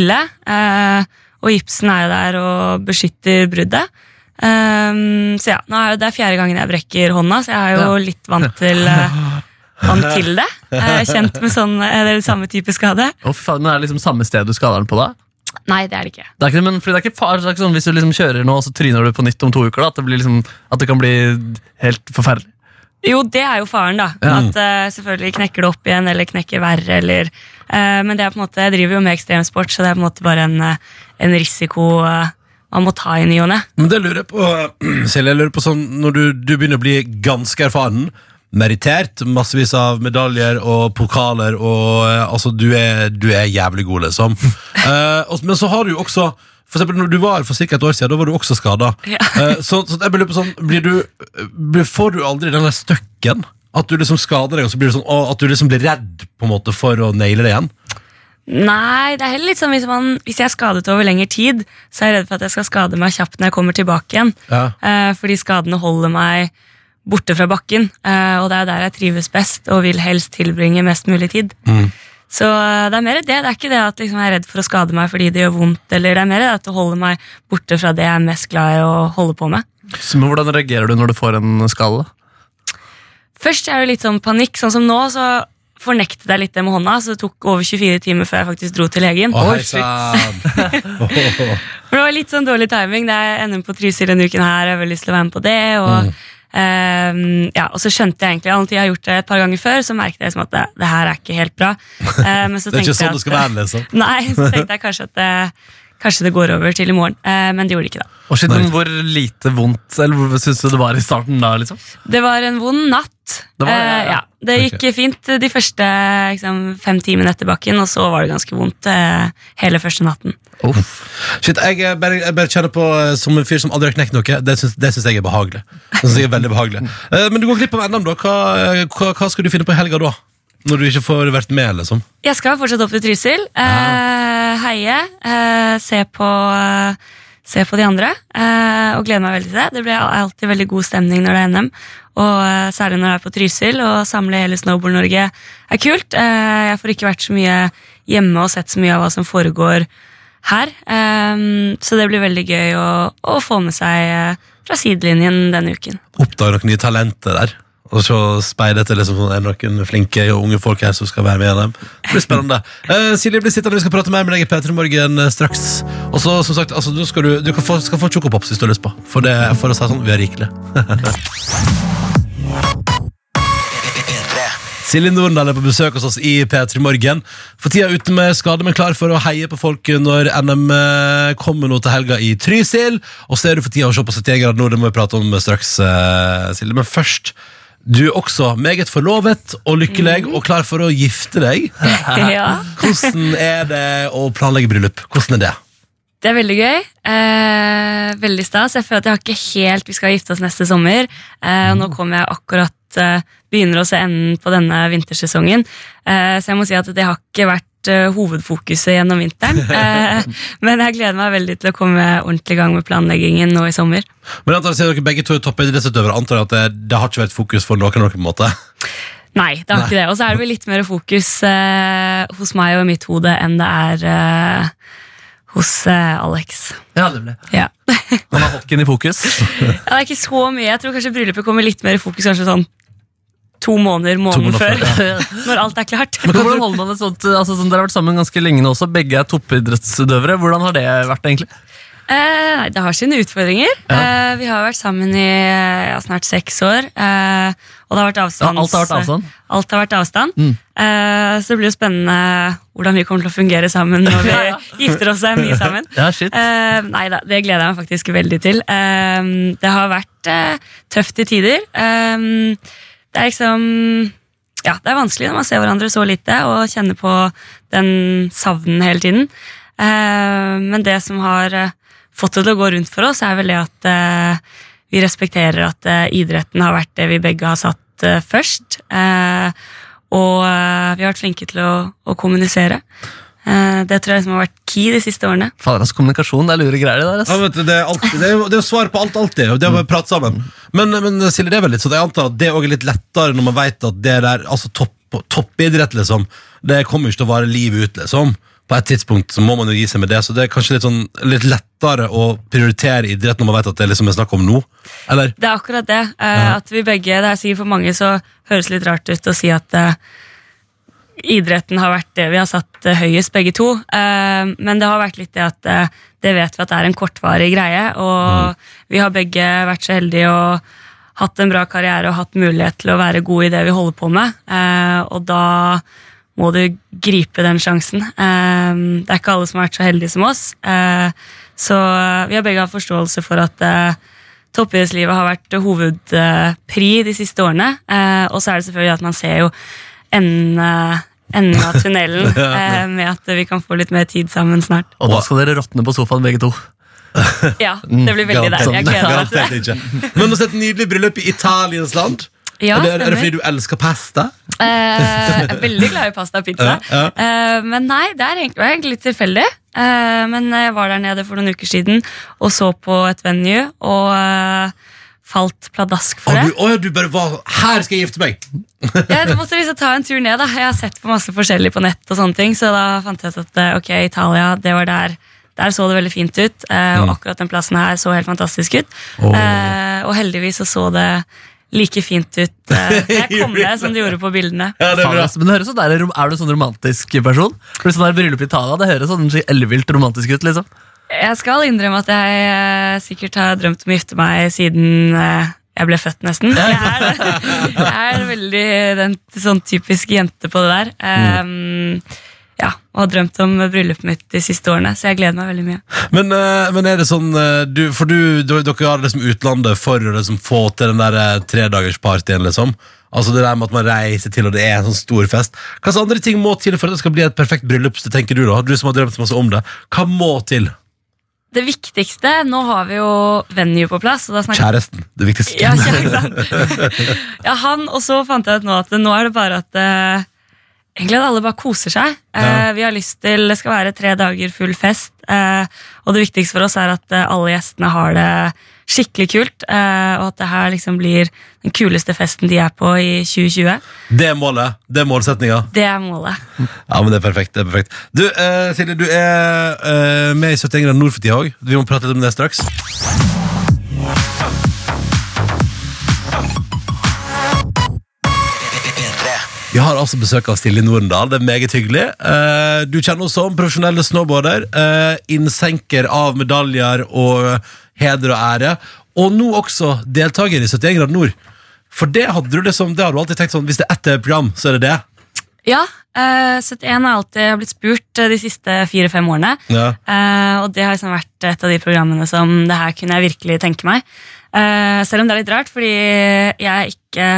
S5: ille. Eh, og gipsen er jo der og beskytter bruddet. Ehm, så ja, nå er det, det er fjerde gangen jeg brekker hånda, så jeg er jo litt vant til, eh, vant til det. Eh, kjent med sånn, eller samme type skade.
S3: Å, fy faen, men Er det liksom samme sted du skader den på? da?
S5: Nei, det er det ikke.
S3: Det er ikke, men fordi det er ikke far, det er ikke sånn, Hvis du liksom kjører nå, og så tryner du på nytt om to uker, da, at, det blir liksom, at det kan bli helt forferdelig.
S5: Jo, det er jo faren, da. At eh, selvfølgelig knekker det opp igjen, eller knekker verre, eller eh, Men det er på en måte, jeg driver jo med ekstremsport, så det er på en måte bare en, eh, en risiko eh, man må ta i ny og ne.
S2: Men det lurer jeg på, Silje, jeg lurer på sånn, når du, du begynner å bli ganske erfaren, meritert, massevis av medaljer og pokaler, og eh, altså, du er, du er jævlig god, liksom. Eh, og, men så har du jo også, for eksempel når du var her for cirka et år siden, da var du også skadet.
S5: Ja.
S2: Eh, så, så jeg lurer på sånn, blir du, blir, får du aldri den der støkken? At du liksom skader deg, og så blir du sånn, å, at du liksom blir redd, på en måte, for å naile det igjen?
S5: Nei, det er heller litt sånn hvis, man, hvis jeg er skadet over lengre tid, så er jeg redd for at jeg skal skade meg kjapt når jeg kommer tilbake igjen.
S2: Ja.
S5: Eh, fordi skadene holder meg borte fra bakken, eh, og det er der jeg trives best og vil helst tilbringe mest mulig tid.
S2: Mm.
S5: Så eh, det er mer det. Det er ikke det at liksom, jeg er redd for å skade meg fordi det gjør vondt, eller det er mer det at det holder meg borte fra det jeg er mest glad i å holde på med.
S3: Så, men Hvordan reagerer du når du får en skade? da?
S5: Først er det litt sånn panikk, sånn som nå, så fornektet jeg litt det med hånda, så det tok over 24 timer før jeg faktisk dro til legen.
S2: Å,
S3: Oi,
S2: hei sann!
S5: For det var litt sånn dårlig timing. Det er NM på Trysil denne uken her, jeg har veldig lyst til å være med på det.
S2: Mm.
S5: Og, ehm, ja, og så skjønte jeg egentlig alltid jeg har gjort det et par ganger før, så merket jeg liksom at det, det her er ikke helt bra. Eh, men så
S2: Det er ikke
S5: tenkte jeg
S2: sånn det skal
S5: at-
S2: være, liksom.
S5: Nei, så tenkte jeg kanskje at det, kanskje det går over til i morgen. Eh, men det gjorde det ikke, da.
S3: Å, shit, men Hvor lite vondt eller syns du det var i starten da? liksom?
S5: Det var en vond natt.
S3: Det var det,
S5: Eh,
S3: ja.
S5: ja. det gikk fint de første liksom, fem timene etter bakken, og så var det ganske vondt eh, hele første natten.
S2: Shit, jeg, eh, bare, jeg bare kjenner på eh, som en fyr som aldri har knekt noe. Det syns, det syns jeg er behagelig. Det synes jeg er veldig behagelig Eh, Men du går glipp av NM, da. Hva, eh, hva, hva skal du finne på i helga da? Når du ikke får vært med, liksom.
S5: Jeg skal fortsatt opp til Trysil. Eh, heie. Eh, se, på, eh, se på de andre. Eh, og gleder meg veldig til det. Det blir al- alltid veldig god stemning når det er NM. Og eh, særlig når det er på Trysil. Å samle hele Snowboard-Norge er kult. Eh, jeg får ikke vært så mye hjemme og sett så mye av hva som foregår her. Eh, så det blir veldig gøy å, å få med seg eh, fra sidelinjen denne uken.
S2: Oppdage noen nye talenter der. Og så speide etter liksom, sånn, er det noen flinke og unge folk her som skal være med i NM. Det blir spennende. Eh, Silje blir sittende, vi skal prate mer med deg i P3 Morgen eh, straks. Og så, som sagt, altså, du, skal du, du kan få, skal få chocopops hvis du har lyst på. For, det, for å si det sånn, vi er rikelig. Silje Nordendal er på besøk hos oss i P3 Morgen. For tida ute med skade, men klar for å heie på folk når NM eh, kommer nå til helga i Trysil. Og så er du for tida å se på 71 grader nord, det må vi prate om straks, eh, Silje. Men først, du er også meget forlovet og lykkelig og klar for å gifte deg.
S5: ja.
S2: Hvordan er det å planlegge bryllup? Hvordan er det?
S5: Det er veldig gøy. Eh, veldig stas. Jeg føler at jeg har ikke helt Vi skal gifte oss neste sommer. Eh, og nå kommer jeg akkurat eh, Begynner å se enden på denne vintersesongen. Eh, så jeg må si at det har ikke vært eh, hovedfokuset gjennom vinteren. Eh, men jeg gleder meg veldig til å komme ordentlig i gang med planleggingen nå i sommer.
S2: Men jeg antar at dere begge to er toppidrettsutøvere. Antar jeg at det, det har ikke vært fokus for noen av dere på en måte.
S5: Nei, det har ikke det. Og så er det vel litt mer fokus eh, hos meg og i mitt hode enn det er eh, hos eh, Alex.
S3: Ja, det ble.
S5: Ja.
S3: Han har hockeyen i fokus.
S5: Ja, det er ikke så mye. Jeg tror kanskje bryllupet kommer litt mer i fokus kanskje sånn to måneder, måneden
S2: måneder
S5: før. Når alt er klart.
S3: Men hvordan holder man et sånt, altså, sånn, Dere har vært sammen ganske lenge nå også. Begge er toppidrettsutøvere. Hvordan har det vært, egentlig?
S5: Eh, nei, det har sine utfordringer. Eh, vi har vært sammen i eh, ja, snart seks år. Eh, og det har vært
S3: Ja,
S5: avstand.
S3: alt har vært avstand. Mm.
S5: Alt har vært avstand. Eh, så det blir jo spennende hvordan vi kommer til å fungere sammen når vi gifter oss og er mye sammen.
S3: Ja, shit.
S5: Eh, nei da, det gleder jeg meg faktisk veldig til. Eh, det har vært eh, tøft i tider. Eh, det er liksom Ja, det er vanskelig når man ser hverandre så lite og kjenner på den savnen hele tiden. Eh, men det som har eh, fått det til å gå rundt for oss, er vel det at eh, vi respekterer at eh, idretten har vært det vi begge har satt eh, først. Eh, og eh, vi har vært flinke til å, å kommunisere. Eh, det tror jeg liksom har vært key de siste årene.
S3: Fader, altså, kommunikasjon, det er lure greier, det
S2: Ja,
S3: der. Altså.
S2: vet du, det, er alltid, det, er, jo- det er jo svar på alt alltid. og Det er å bare prate sammen. Men, men Silje, det er vel litt sånn at jeg antar at det også er litt lettere når man vet at det der altså topp, toppidrett, liksom, det kommer jo ikke til å vare livet ut, liksom. På et tidspunkt så må man jo gi seg med det, så det er kanskje litt, sånn, litt lettere å prioritere idrett når man vet at det er liksom er snakk om nå. Eller?
S5: Det er akkurat det. eh, At vi begge, det er sikkert for mange så høres litt rart ut å si at eh, idretten har vært det vi har satt eh, høyest begge to. Eh, men det har vært litt det at eh, det vet vi at det er en kortvarig greie, og vi har begge vært så heldige og hatt en bra karriere og hatt mulighet til å være gode i det vi holder på med. Eh, og da må du gripe den sjansen. Eh, det er ikke alle som har vært så heldige som oss. Eh, så eh, vi har begge hatt forståelse for at eh, toppidrettslivet har vært hovedpri de siste årene. Eh, og så er det selvfølgelig at man ser jo enden eh, enden av tunnelen eh, med at vi kan få litt mer tid sammen snart.
S3: Og da skal dere råtne på sofaen, begge to.
S5: Ja, det blir veldig deilig. Jeg gleder meg til det.
S2: Mm, Garantert ikke. Men også et nydelig bryllup i Italiens land.
S5: Ja,
S2: er, det, er det
S5: stemmer.
S2: fordi du elsker pasta?
S5: Eh, jeg er veldig glad i pasta og pizza.
S2: Ja, ja.
S5: Eh, men nei, det er egentlig, var egentlig litt tilfeldig. Eh, men jeg var der nede for noen uker siden og så på et venue og eh, falt pladask for
S2: Å,
S5: det.
S2: du, å, ja, du bare var Her skal jeg gifte meg!
S5: Jeg måtte liksom ta en tur ned. da Jeg har sett på masse forskjellig på nett, og sånne ting så da fant jeg ut at eh, ok, Italia, det var der. Der så det veldig fint ut, eh, og akkurat den plassen her så helt fantastisk ut. Eh, og heldigvis så så det like fint ut eh, da jeg kom ned som det gjorde på bildene.
S2: Ja, det er
S3: Fader,
S2: bra.
S3: altså, men det høres sånn der, er du en sånn romantisk person? Blir sånn der bryllup i Italia, det høres sånn ellevilt romantisk ut, liksom.
S5: Jeg skal innrømme at jeg eh, sikkert har drømt om å gifte meg siden eh, jeg ble født, nesten. Jeg er, jeg er veldig den sånn typisk jente på det der. Ehm, ja, Og har drømt om bryllupet mitt de siste årene, så jeg gleder meg veldig mye.
S2: Men, eh, men er det sånn eh, du, For du, du, dere har liksom utlandet for å liksom få til den der eh, tredagerspartyen, liksom. Altså det der med at man reiser til, og det er en sånn stor fest. Hva slags andre ting må til for at det skal bli et perfekt bryllup? Det tenker du da, du som har drømt så masse om det. Hva må til?
S5: Det viktigste Nå har vi jo venue på plass, og da snakker
S2: Kjæresten, det viktigste.
S5: Ja, ikke sant? ja, han, og så fant jeg ut nå at nå er det bare at eh, Egentlig at alle bare koser seg. Eh, vi har lyst til, Det skal være tre dager full fest. eh, og det viktigste for oss er at eh, alle gjestene har det skikkelig kult. eh, og at det her liksom blir den kuleste festen de er på i 2020.
S2: Det er målet. Det er målsetninga.
S5: Det er målet.
S2: Ja, men det er perfekt. det er perfekt Du, eh, Silje, du er eh, med i 71 grader nord for tida òg. Vi må prate litt om det straks. Vi har altså besøk av Silje Nordendal. Det er meget hyggelig. Eh, du kjenner henne som profesjonell snowboarder, eh, innsenker av medaljer og heder og ære, og nå også deltaker i 71 grader nord. For det hadde du liksom, det hadde du alltid tenkt sånn Hvis det er ett TV-program, så er det det.
S5: Ja, eh, 71 har alltid blitt spurt eh, de siste fire-fem årene.
S2: Ja.
S5: Eh, og det har liksom vært et av de programmene som det her kunne jeg virkelig tenke meg. Eh, selv om det er litt rart, fordi jeg ikke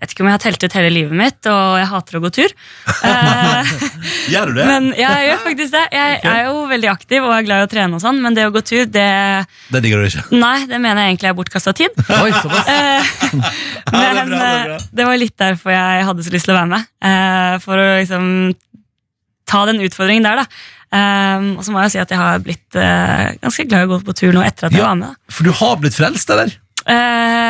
S5: vet ikke om jeg har telt ut hele livet mitt, og jeg hater å gå tur. Eh,
S2: Gjør du det?
S5: men ja, jeg gjør faktisk det. Jeg er jo veldig aktiv og er glad i å trene, og sånn, men det å gå tur, det
S2: det digger du ikke.
S5: Nei, det mener jeg egentlig er bortkasta tid.
S3: Oi, såpass.
S5: Eh,
S2: Ja, det er
S5: Men
S2: bra, det er bra.
S5: eh, det var litt derfor jeg hadde så lyst til å være med. eh, For å liksom ta den utfordringen der, da. Eh, Og så må jeg jo si at jeg har blitt eh, ganske glad i å gå på tur nå etter at jeg
S2: Ja.
S5: var med. da.
S2: For du har blitt frelst, eller?
S5: Eh,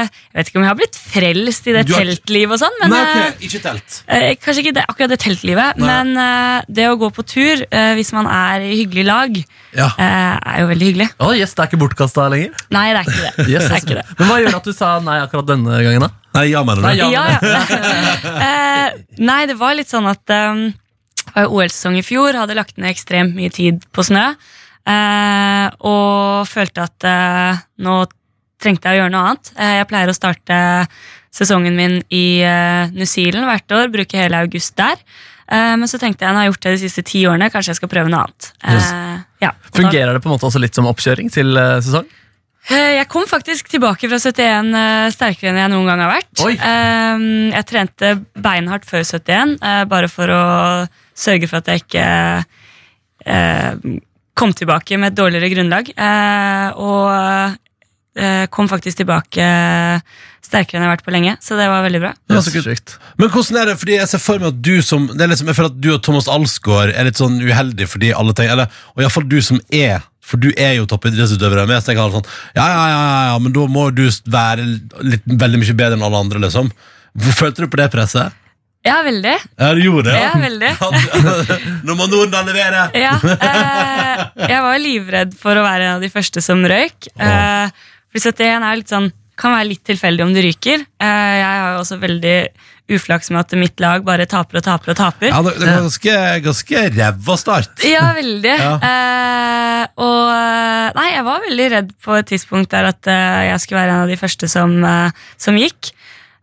S5: Jeg vet ikke om jeg har blitt frelst i det
S2: Du har ikke-
S5: teltlivet og sånn, men
S2: Nei,
S5: eh,
S2: ok, ikke telt.
S5: Eh, Kanskje ikke det, akkurat det teltlivet,
S2: Nei.
S5: men eh, det å gå på tur eh, hvis man er i hyggelig lag,
S2: Ja.
S5: eh, er jo veldig hyggelig.
S3: Å, yes, det er ikke bortkasta lenger.
S5: Nei, det er ikke det.
S3: Yes,
S5: det, er
S3: altså.
S5: ikke det.
S3: Men hva gjør at du sa nei akkurat denne gangen, da?
S2: Nei, ja, mener du.
S3: Nei, ja.
S5: Ja, ja. Eh, nei, det var litt sånn at um, det var jo OL-sesong i fjor, hadde lagt ned ekstremt mye tid på snø, eh, og følte at eh, nå trengte jeg å gjøre noe annet. Eh, jeg pleier å starte sesongen min i eh, New Zealand hvert år, bruke hele august der. Eh, men så tenkte jeg, nå har jeg gjort det de siste ti årene, kanskje jeg skal prøve noe annet. Eh, ja, og da-
S3: Fungerer det på en måte også litt som oppkjøring til eh, sesong?
S5: Eh, Jeg kom faktisk tilbake fra 71 eh, sterkere enn jeg noen gang har vært.
S3: Oi.
S5: Eh, Jeg trente beinhardt før 71, eh, bare for å sørge for at jeg ikke eh, kom tilbake med et dårligere grunnlag. Eh, Og eh, kom faktisk tilbake eh, sterkere enn jeg har vært på lenge, så det var veldig bra.
S2: Ja,
S3: Yes,
S2: så kult.
S3: sjukt.
S2: Men hvordan er det, fordi jeg ser for meg at du som det er liksom, Jeg føler at du og Thomas Alsgaard er litt sånn uheldig fordi alle tenker Eller, og iallfall du som er For du er jo toppidrettsutøver med, så jeg har sånn ja, ja, ja, ja, ja, men da må du være litt, veldig mye bedre enn alle andre, liksom. Følte du på det presset?
S5: Ja, veldig.
S2: Ja, du gjorde det?
S5: Ja, veldig.
S2: Nå må Norden levere!
S5: Ja, eh, jeg var livredd for å være en av de første som røyk. Eh, fordi 71 er litt sånn, kan være litt tilfeldig om du ryker. Eh, jeg har jo også veldig uflaks med at mitt lag bare taper og taper og taper.
S2: Ja, det, det var ganske, ganske ræva start.
S5: Ja, veldig.
S2: Ja.
S5: Eh, og eh, Nei, jeg var veldig redd på et tidspunkt der at eh, jeg skulle være en av de første som, eh, som gikk.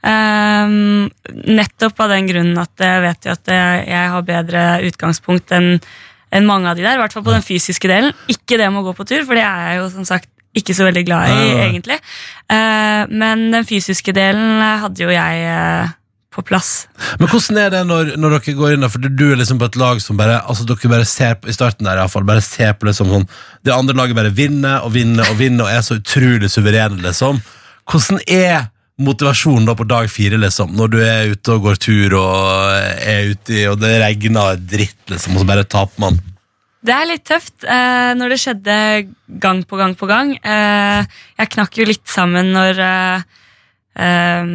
S5: Ehm, nettopp av den grunnen at jeg vet jo at eh, jeg har bedre utgangspunkt enn enn mange av de der, i hvert fall på den fysiske delen. Ikke det med å gå på tur, for det er jeg jo som sagt ikke så veldig glad i,
S2: Nei, nei, nei.
S5: egentlig. Eh, men den fysiske delen eh, hadde jo jeg eh, på plass.
S2: Men hvordan er det når, når dere går inn der, for du er liksom på et lag som bare Altså dere bare ser på, i starten der i hvert fall, bare ser på liksom sånn Det andre laget bare vinner og vinner og vinner og er så utrolig suverene, liksom. Hvordan er motivasjonen da på dag fire, liksom? Når du er ute og går tur og er ute i, og det regner dritt, liksom, og så bare taper man.
S5: Det er litt tøft eh, når det skjedde gang på gang på gang. Eh, jeg knakk jo litt sammen når eh, eh,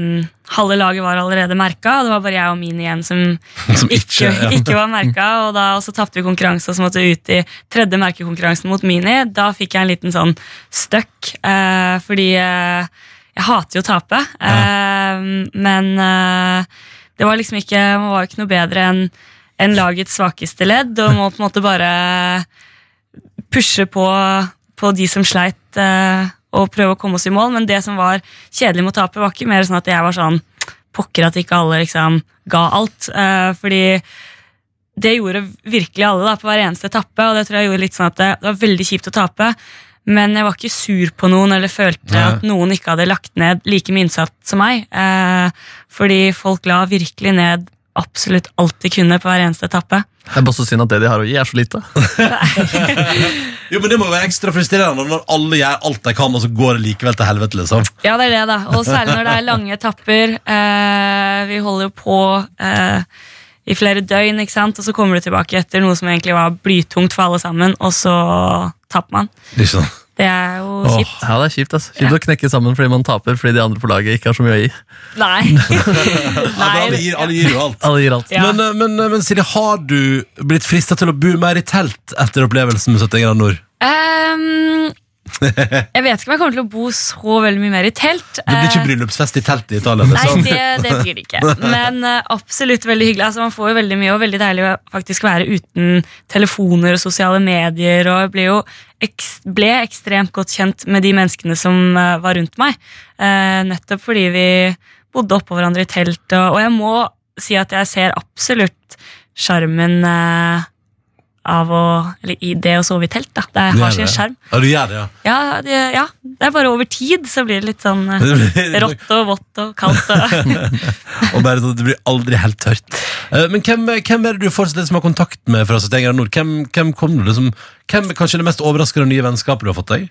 S5: halve laget var allerede merka, og det var bare jeg og min igjen som,
S2: Som ikke,
S5: ikke,
S2: ja.
S5: ikke var merka. Og, da, og så tapte vi konkurranse og så måtte vi ut i tredje merkekonkurransen mot Mini. Da fikk jeg en liten sånn støkk, eh, fordi eh, jeg hater jo å tape. Eh, men eh, det var liksom ikke Man var jo ikke noe bedre enn enn lagets svakeste ledd, og må på en måte bare pushe på, på de som sleit, eh, og prøve å komme oss i mål. Men det som var kjedelig med å tape, var ikke mer sånn at jeg var sånn Pokker at ikke alle liksom ga alt. eh, fordi det gjorde virkelig alle da, på hver eneste etappe, og det tror jeg gjorde litt sånn at det, det var veldig kjipt å tape. Men jeg var ikke sur på noen eller følte
S2: Nei.
S5: at noen ikke hadde lagt ned like mye innsatt som meg. Eh, fordi folk la virkelig ned absolutt alt de kunne på hver eneste etappe.
S3: Det er bare så synd at det de har å gi, er så lite.
S2: Jo, men det må jo være ekstra frustrerende når alle gjør alt de kan, og så går det likevel til helvete, liksom.
S5: Ja, det er det, da. Og særlig når det er lange etapper. Eh, vi holder jo på eh, i flere døgn, ikke sant? og så kommer du tilbake etter noe som egentlig var blytungt for alle sammen, og så taper man.
S2: Ikke sant?
S5: Det er jo
S2: Åh.
S5: kjipt.
S3: Ja, det er kjipt altså. Kjipt å knekke sammen fordi man taper fordi de andre på laget ikke har så mye å gi.
S5: Nei.
S2: Ja, men alle, gir, alle gir jo alt.
S3: Alle gir alt.
S5: Ja.
S2: Men, eh, men, eh, men Silje, har du blitt frista til å bo mer i telt etter opplevelsen med 70 grader nord?
S5: Ehm, jeg vet ikke om jeg kommer til å bo så veldig mye mer i telt.
S2: Det blir ikke
S5: Eh,
S2: bryllupsfest i telt i Italia?
S5: Nei,
S2: Liksom.
S5: det, det blir det ikke. Men eh, absolutt veldig hyggelig. Altså, man får jo veldig mye, og veldig deilig å faktisk være uten telefoner og sosiale medier. Og jeg ble jo eks ble ekstremt godt kjent med de menneskene som eh, var rundt meg. Eh, nettopp fordi vi bodde oppå hverandre i telt. Og, og jeg må si at jeg ser absolutt sjarmen eh, av å Eller i det å sove i telt, da. Det har sin sjarm.
S2: Ja, du gjør det, ja.
S5: Ja, det, ja, det er bare over tid så blir det litt sånn eh,
S2: Det blir-
S5: rått og vått og kaldt. Og,
S2: Og bare sånn at det blir aldri helt tørt. Eh, Men hvem, hvem er det du fortsatt liksom har kontakt med fra Stavanger Nord? Hvem, hvem kom du liksom Hvem er kanskje det mest overraskende nye vennskapet du har fått deg?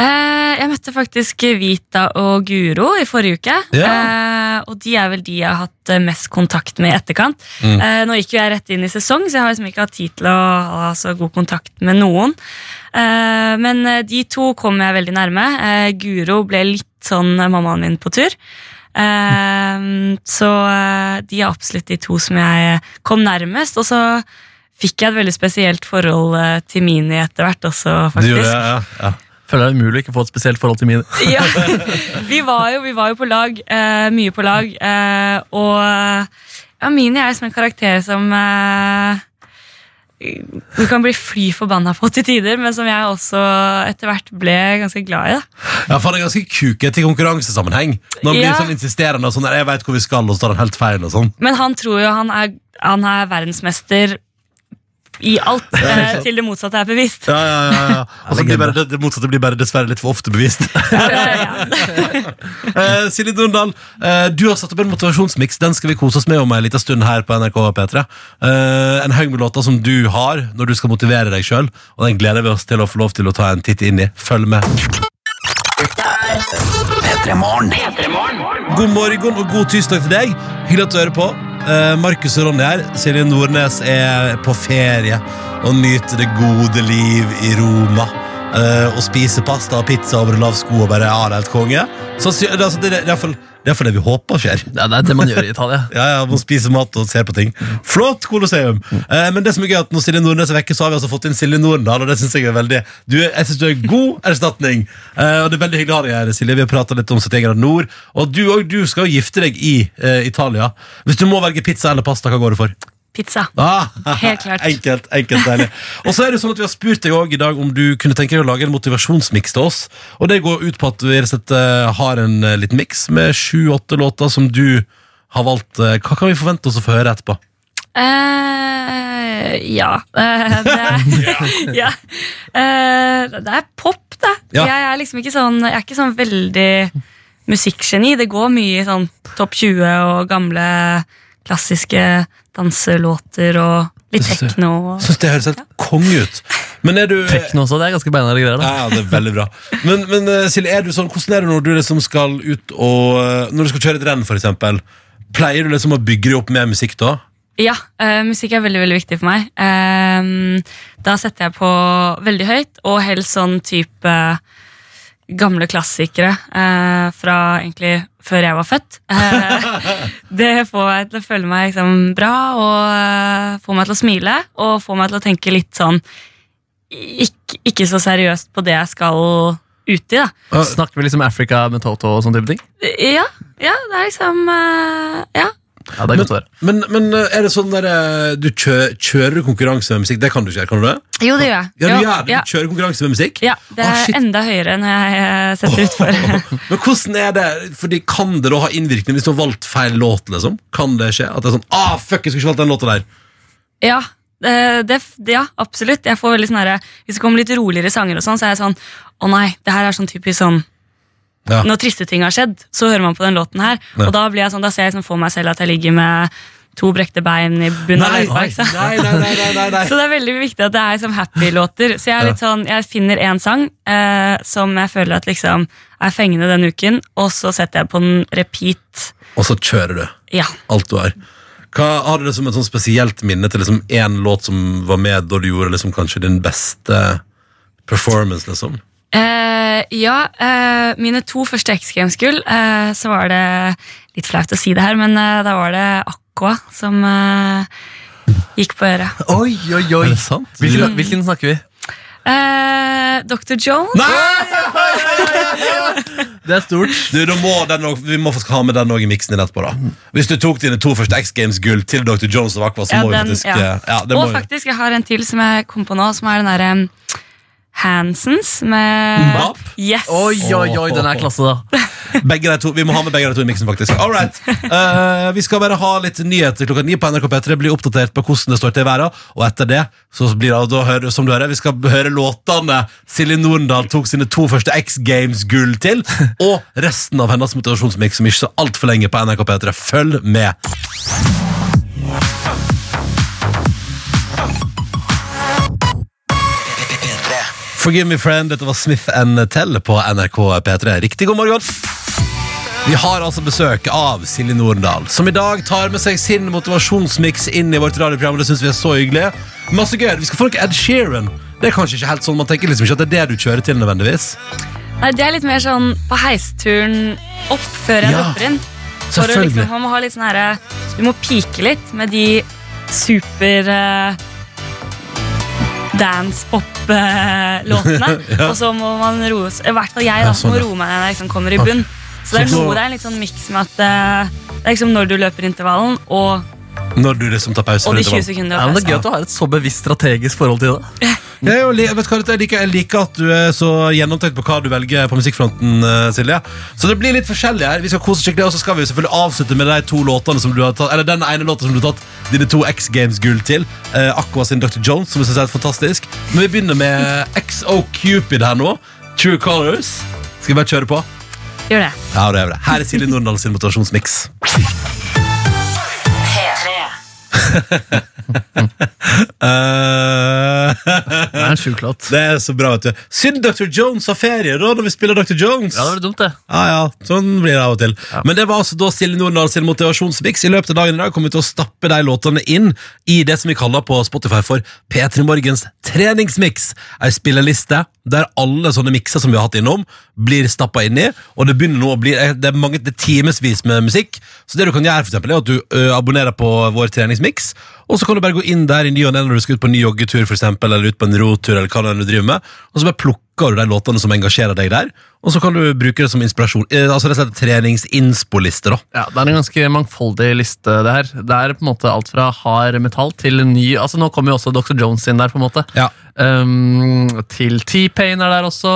S5: Eh, jeg møtte faktisk Vita og Guro i forrige uke. Eh, og de er vel de jeg har hatt eh, mest kontakt med i etterkant.
S2: Mm.
S5: Eh, nå gikk jo jeg rett inn i sesong, så jeg har liksom ikke hatt tid til å ha så god kontakt med noen. Eh, men eh, de to kom jeg veldig nærme. Eh, Guro ble litt sånn eh, mammaen min på tur. Eh, så eh, de er absolutt de to som jeg eh, kom nærmest. Og så fikk jeg et veldig spesielt forhold eh, til Mini etter hvert også,
S2: Du
S5: faktisk.
S2: gjorde det, ja, ja.
S3: Føler det er umulig å ikke få et spesielt forhold til min.
S5: Ja, vi var jo, vi var jo på lag, eh, mye på lag, eh, og ja, Mini er som en karakter som eh, du kan bli fly forbanna på til tider, men som jeg også etter hvert ble ganske glad i. Da.
S2: Ja, for han er ganske kuket i konkurransesammenheng. Når han
S5: Ja.
S2: blir sånn insisterende og sånn der, 'Jeg vet hvor vi skal', og så tar han helt feil og sånn.
S5: Men han tror jo han er, han er verdensmester i alt, eh, til det motsatte er bevist.
S2: Ja, ja, ja, ja. Og så blir bare, det, det motsatte blir bare dessverre litt for ofte bevist.
S5: Ja.
S2: Eh, Silje Dondal, eh, du har satt opp en motivasjonsmiks. Den skal vi kose oss med om en liten stund her på NRK P3. Eh, en haug med låter som du har når du skal motivere deg sjøl. Og den gleder vi oss til å få lov til å ta en titt inn i. Følg med.
S1: P3morgen.
S2: God morgen og god tirsdag til deg. Hyggelig at du hører på. Eh, Markus og Ronny her. Silje Nordnes er på ferie og nyter det gode liv i Roma. Eh, og spiser pasta og pizza over lav sko og bare ja, det er helt konge. Så, sy- det, er altså, det, er- det, er iallfall- det er iallfall det vi håper skjer.
S3: Ja, det er det man gjør i Italia.
S2: Ja, ja, man spiser mat og ser på ting. Flott kolosseum! Eh, men det som er gøy er at når Silje Nordnes er vekke, så har vi altså fått inn Silje Nordendal, og det synes jeg er veldig du, er- Jeg synes du er en god erstatning. Eh, og det er veldig hyggelig å ha deg her, Silje. Vi har prata litt om 71 grader nord. Og du òg, du skal jo gifte deg i eh, Italia. Hvis du må velge pizza eller pasta, hva går du for?
S5: Pizza.
S2: Ah,
S5: Helt klart.
S2: Enkelt, enkelt deilig. Og så er det sånn at Vi har spurt deg også i dag om du kunne tenke deg å lage en motivasjonsmiks til oss. Og Det går ut på at vi rett og slett eh, har en eh, liten miks med sju-åtte låter som du har valgt. Eh, Hva kan vi forvente oss å få høre etterpå?
S5: Eh, ja. Eh, det, er, ja. Eh, det er pop, det.
S2: Ja.
S5: Jeg er liksom ikke sånn Jeg er ikke sånn veldig musikkgeni. Det går mye i sånn topp 20 og gamle klassiske danselåter og litt
S2: Det synes jeg.
S5: tekno. og-
S2: Syns det høres helt konge ut. Men er du
S3: Tekno også, det er ganske beinharde greier. da
S2: Ja, ja, det er veldig bra. Men, men eh, Silje, er du sånn, hvordan er det når du liksom skal ut og eh, Når du skal kjøre et renn, for eksempel, pleier du liksom å bygge deg opp med musikk da?
S5: Ja, eh, musikk er veldig, veldig viktig for meg. Ehm, da setter jeg på veldig høyt, og helst sånn type eh, gamle klassikere eh, fra egentlig før jeg var født. Eh, det får meg til å føle meg liksom bra, og eh, får meg til å smile, og får meg til å tenke litt sånn ikke, ikke så seriøst på det jeg skal ut i, da.
S3: Snakker vi liksom Africa med Toto og sånn type ting?
S5: Ja, ja det er liksom eh, Ja.
S3: Ja, det er godt å høre.
S2: Men, men eh, er det sånn der eh, Du kjø, kjører du konkurranse med musikk? Det kan du ikke, gjøre, kan du det?
S5: Jo, det gjør jeg.
S2: Ja, du
S5: Jo,
S2: gjør det. Du kjører konkurranse med musikk?
S5: Ja, det
S2: Å,
S5: er
S2: shit.
S5: enda høyere enn jeg eh, setter ut for.
S2: Men hvordan er det? Fordi Kan det da ha innvirkning hvis du har valgt feil låt? liksom? Kan det skje? At det er sånn ah, fuck, jeg skulle ikke valgt den låta der.
S5: ja, eh, det, det, ja, absolutt. Jeg får veldig sånn herre Hvis det kommer litt roligere sanger, og sånn, så er jeg sånn Å nei, det her er sånn typisk sånn
S2: Ja.
S5: Når triste ting har skjedd, så hører man på den låten her.
S2: Ja.
S5: Og da blir jeg sånn, da ser jeg liksom for meg selv at jeg ligger med to brekte bein i bunnen av
S2: Nei, nei,
S5: Løveberg. Så.
S2: nei, nei, nei, nei, nei.
S5: liksom. så det er veldig viktig at det er liksom happy-låter. Så jeg er litt sånn, jeg finner én sang eh, som jeg føler at liksom er fengende den uken, og så setter jeg på den repeat.
S2: Og så kjører du
S5: Ja.
S2: alt du har. Hva Har du det som et sånn spesielt minne til liksom én låt som var med da du gjorde liksom kanskje din beste performance? liksom?
S5: Eh, ja, eh, mine to første X Games-gull, eh, så var det litt flaut å si det her, men eh, da var det Aqua som eh, gikk på øret.
S3: Oi, oi, oi
S2: Er det sant?
S3: Hvilken, hvilken snakker vi?
S5: Eh, Dr. Jones?
S3: Det er stort.
S2: Du, da må den også, Vi må faktisk ha med den også i miksen din etterpå. da Hvis du tok dine to første X Games-gull til Dr. Jones og Aqua, så
S5: Ja,
S2: må vi
S5: den-
S2: faktisk eh,
S5: ja.
S2: ja. Ja, det må
S5: Og
S2: vi.
S5: faktisk, jeg har en til som jeg kom på nå, som er den derre eh, Hansens med
S2: Mbapp?
S5: Yes!
S3: Oi, oi, oi, den er klasse, da.
S2: Begge de to, Vi må ha med begge de to i miksen, faktisk. All right. Eh, vi skal bare ha litt nyheter klokka ni på NRK P3. Bli oppdatert på hvordan det står til i verden. Og etter det så blir det, da hører, som du hører, vi skal høre låtene Silje Norendal tok sine to første X Games-gull til. Og resten av hennes motivasjonsmiks som ikke så altfor lenge på NRK P3. Følg med. Forgive me friend, dette var Smith and Tell på NRK P3. Riktig god morgen! Vi har altså besøk av Silje Norendal, som i dag tar med seg sin motivasjonsmiks inn i vårt radioprogram. Det syns vi er så hyggelig. Masse gøy. Vi skal få noe Ed Sheeran. Det er kanskje ikke helt sånn, Man tenker liksom ikke at det er det du kjører til nødvendigvis.
S5: Nei, det er litt mer sånn på heisturen opp før jeg
S2: Ja,
S5: dropper inn. For å
S2: selvfølgelig.
S5: liksom, man må ha litt sånn herre Du må pike litt med de super eh, dance-pop-låtene.
S2: Ja.
S5: eh, Og så må man roe s- I hvert fall jeg da,
S2: Ja, sånn,
S5: må
S2: ja.
S5: roe meg ned når jeg liksom kommer i bunn. Så det er
S2: Så da-
S5: noe det er en litt sånn miks med at eh, det er liksom når du løper intervallen, og,
S2: Når du liksom tar pause.
S5: og
S2: for
S5: de
S2: intervall.
S5: 20 sekundene.
S3: Ja, men det er
S5: pause.
S3: gøy at du har et så bevisst strategisk forhold til det.
S2: Jeg, er jo li- vet du hva, dette- jeg, liker, jeg liker at du er så gjennomtenkt på hva du velger på musikkfronten, eh, Silje. Så det blir litt forskjellig her. Vi skal kose oss skikkelig, og så skal vi jo selvfølgelig avslutte med de to låtene som du har tatt, eller den ene låten som du har tatt dine to X Games-gull til. Eh, Aqua sin Dr. Jones, som jeg synes er helt fantastisk. Men vi begynner med XO Cupid her nå. True Colors. Skal vi bare kjøre på?
S5: Gjør det.
S2: Ja, det er det. Her er Silje Nordahl sin motivasjonsmiks.
S4: P3.
S2: Eh,
S3: Det er en sjuk låt.
S2: det er så bra, vet du. Synd Dr. Jones har ferie da, når vi spiller Dr. Jones.
S3: Ja, det var dumt, det.
S2: Ja, ja, sånn blir det av og til. Men det var altså da Silje Nordahl sin motivasjonsmiks. I løpet av dagen i dag kommer vi til å stappe de låtene inn i det som vi kaller på Spotify for P3 Morgens treningsmiks. Ei spilleliste der alle sånne mikser som vi har hatt innom, blir stappa inn i. Og det begynner nå å bli Det er, mange, det er timevis med musikk. Så det du kan gjøre, for eksempel, er at du ø, abonnerer på vår treningsmiks. Og så kan du bare gå inn der i ny og ne når du skal ut på en ny joggetur, for eksempel, eller ut på en rotur, eller hva det er du driver med. Og så bare plukker plukker du de låtene som engasjerer deg der, og så kan du bruke det som inspirasjon. Eh, altså rett og slett treningsinspoliste, da.
S3: Ja, Det er en ganske mangfoldig liste. Det her Det er på en måte alt fra hard metall til ny Altså Nå kommer jo også Dr. Jones inn der. på en måte
S2: Ja.
S3: Ehm, Til T-Pain er der også.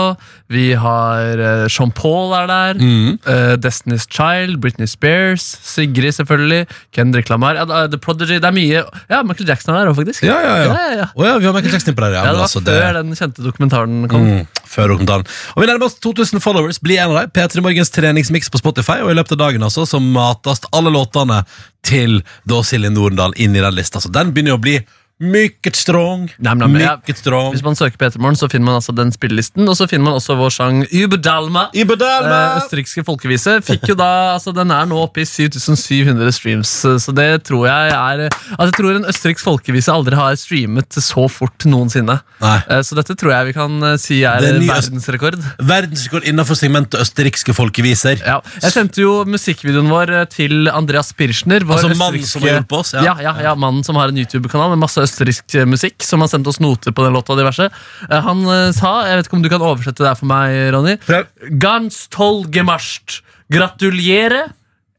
S3: Vi har eh, Sean Paul er der.
S2: Mm.
S3: eh, Destiny's Child, Britney Spears, Sigrid selvfølgelig. Kendrick Lamar. Ja, det er The Prodigy. Det er mye Ja, Michael Jackson er der òg, faktisk.
S2: Ja, ja, ja.
S3: ja, ja.
S2: Å ja, vi har Michael Jackson på der, ja.
S3: Ja,
S2: men
S3: det var
S2: altså, det-
S3: før den kjente dokumentaren kom.
S2: Mm, før dokumentaren. Og vi nærmer oss 2000 followers. Bli en av dem. P3 Morgens treningsmiks på Spotify, og i løpet av dagen altså, så mates alle låtene til da Silje Norendal inn i den lista. Så den begynner jo å bli mycket strong.
S3: Nei, men- men jeg-
S2: mycket strong.
S3: Hvis man søker på Ettermorgen, så finner man altså den spillelisten, og så finner man også vår sang Ubedalma.
S2: I
S3: Eh,
S2: bedømme!
S3: Østerrikske folkevise fikk jo da altså Den er nå oppe i 7700 streams, eh, så det tror jeg er eh, Altså Jeg tror en østerriksk folkevise aldri har streamet så fort noensinne.
S2: Nei.
S3: Eh, Så dette tror jeg vi kan eh, si er
S2: Det er ny øst-
S3: verdensrekord.
S2: Verdensrekord innenfor segmentet østerrikske folkeviser.
S3: Ja. Jeg sendte jo musikkvideoen vår eh, til Andreas Pirschner. vår
S2: Altså mannen
S3: østerrikske-
S2: som har hjulpet oss, ja.
S3: Ja. Ja, ja, mannen som har en YouTube-kanal med masse østerriksk eh, musikk. Som har sendt oss noter på den låta og diverse. Eh, Han eh, sa, jeg vet ikke om du kan oversette det her for meg, Ronny.
S2: Prøv.
S3: Ganz toll gemarscht. Gratuliere,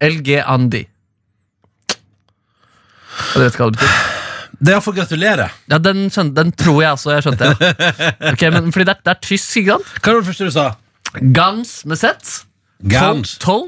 S3: LG Andi. Og du vet hva det betyr?
S2: Det er iallfall gratulerer.
S3: Ja, den, skjønte, den tror jeg også jeg skjønte. Ja. Ok, men fordi det er, det er tysk, ikke sant?
S2: Hva var det første du sa?
S3: Gans med Z.
S2: Gans.
S3: Toll,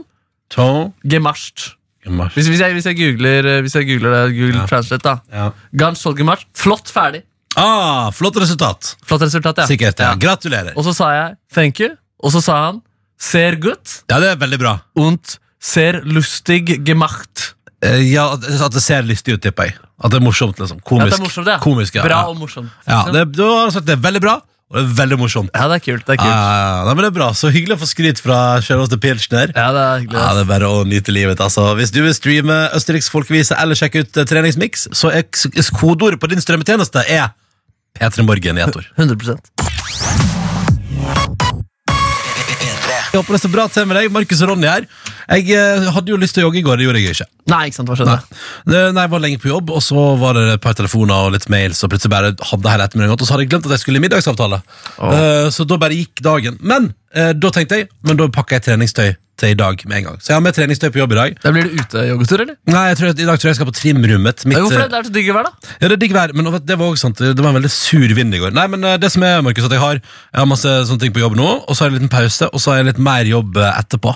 S2: Tone.
S3: toll gemarscht.
S2: Mars.
S3: Hvis, hvis, jeg, hvis, jeg googler, eh, hvis jeg googler det, Google Translate, da.
S2: Ja.
S3: Gans toll gemarscht. Flott ferdig.
S2: Ah, flott resultat.
S3: Flott resultat, ja.
S2: Sikkert. Ja. Gratulerer.
S3: Og så sa jeg thank you, og så sa han ser gut
S2: Ja, det er veldig bra.
S3: und ser lustig gemacht.
S2: Eh, Ja, at at det ser lystig ut, tipper jeg. At det er morsomt, liksom.
S3: Ja,
S2: Komisk.
S3: det er morsomt, det.
S2: Komisk, ja.
S3: Bra
S2: Ja.
S3: og morsomt. liksom.
S2: ja,
S3: Ikke sant?
S2: det, du har altså sagt det er veldig bra, og det er veldig morsomt.
S3: ja, det er kult. Det
S2: Ja,
S3: er kult.
S2: ja, ja. nei, men det er bra. Så hyggelig å få skryt fra sjølveste Pilsner.
S3: Ja, det er hyggelig.
S2: Ja,
S3: ass.
S2: det er bare å nyte livet, altså. Hvis du vil streame Østerriks folkevise eller sjekke ut eh, treningsmiks, så er k- s- kodeordet på din strømmetjeneste er P3 Morgen i ett ord.
S3: 100
S2: Jeg håper det står bra til med deg. Markus og Ronny her. Jeg eh, hadde jo lyst til å jogge i går, det gjorde jeg jo ikke.
S3: Nei, ikke sant, hva skjønner jeg?
S2: Det, nei, jeg var lenge på jobb, og så var det et par telefoner og litt mails, og plutselig bare hadde hele ettermiddagen gått, og så hadde jeg glemt at jeg skulle i middagsavtale. Eh, så da bare gikk dagen. Men eh, da tenkte jeg, men da pakker jeg treningstøy til i dag med en gang. Så jeg har med treningstøy på jobb i dag.
S3: Da blir det ute-joggetur, eller?
S2: Nei, jeg tror at, I dag tror jeg jeg skal på trimrommet. Mitt,
S3: Ja, Hvorfor
S2: eh,
S3: det? Det er så digg å være, da.
S2: Ja, det er digg vær, men det var også sant, det var en veldig sur vind i går. Nei, men eh, det som er, Markus, at jeg har, jeg har masse sånne ting på jobb nå, og så har jeg en liten pause, og så har jeg litt mer jobb eh, etterpå.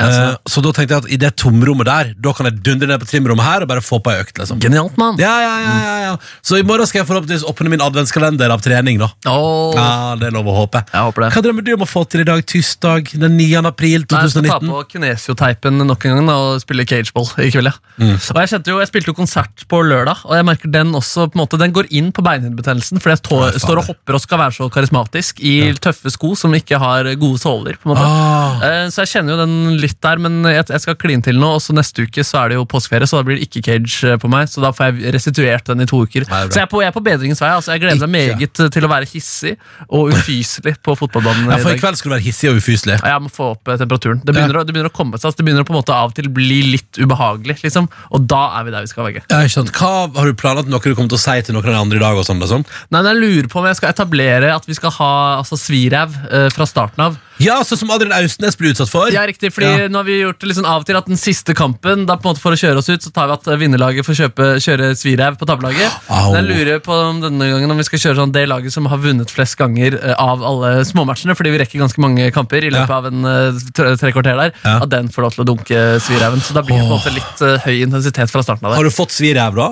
S2: Eh, så da tenkte jeg at i det tomrommet der, da kan jeg dundre ned på trimrommet her og bare få på ei økt. liksom.
S3: Genialt, mann.
S2: Ja, ja, ja, ja, ja. Så i morgen skal jeg forhåpentligvis åpne min adventskalender av trening, da.
S3: Åh.
S2: Ja, det er lov å håpe.
S3: Jeg håper det.
S2: Hva drømmer du om å få til i dag, tirsdag den 9. april
S3: Nei, jeg skal ta
S2: 2019?
S3: på kinesioteipen nok en gang da, og spille cageball i kveld. Ja.
S2: Mm.
S3: Og jeg, kjente jo, jeg spilte jo konsert på lørdag, og jeg merker den også på en måte, den går inn på beinhinnebetennelsen. Fordi jeg tå,
S2: Nei, faen.
S3: står og hopper og skal være så karismatisk i tøffe sko som ikke har gode såler. på en måte.
S2: Ah.
S3: Eh, Så jeg kjenner jo den litt der, men jeg, jeg skal kline til nå. Og så neste uke så er det jo påskeferie, så da blir det ikke cage eh, på meg. Så da får jeg restituert den i to uker.
S2: Nei, bra.
S3: så jeg er, på, jeg er på bedringens vei. altså Jeg gleder meg
S2: Ikke.
S3: meget eh, til å være hissig og ufyselig på fotballbanen.
S2: Ja, for i
S3: i dag.
S2: kveld skal du være hissig og ufyselig.
S3: Ja, Jeg må få opp eh, temperaturen. Det begynner, å, det begynner å komme seg. altså Det begynner å på en måte av og til bli litt ubehagelig. liksom Og da er vi der vi skal være.
S2: Ja, ikke sant. Hva har du planlagt noe du kommer til å si til noen av de andre i dag? og sånn, liksom?
S3: Nei, men Jeg lurer på om jeg skal etablere at vi skal ha altså, svirev eh, fra starten av.
S2: Ja, sånn som Adrian Austnes blir utsatt for.
S3: Ja, riktig, fordi
S2: Ja.
S3: nå har vi gjort det liksom av og til at den siste kampen da på en måte For å kjøre oss ut, så tar vi at eh, vinnerlaget får kjøpe, kjøre svirev på tappelaget.
S2: Au.
S3: Men Jeg lurer på om denne gangen om vi skal kjøre sånn det laget som har vunnet flest ganger eh, av alle småmatchene, fordi vi rekker ganske mange kamper i løpet
S2: Ja.
S3: av en eh, tre, tre kvarter der,
S2: Ja.
S3: at den får lov til å dunke svireven. Så da blir det på en måte litt eh, høy intensitet fra starten av det.
S2: Har du fått svirev, da?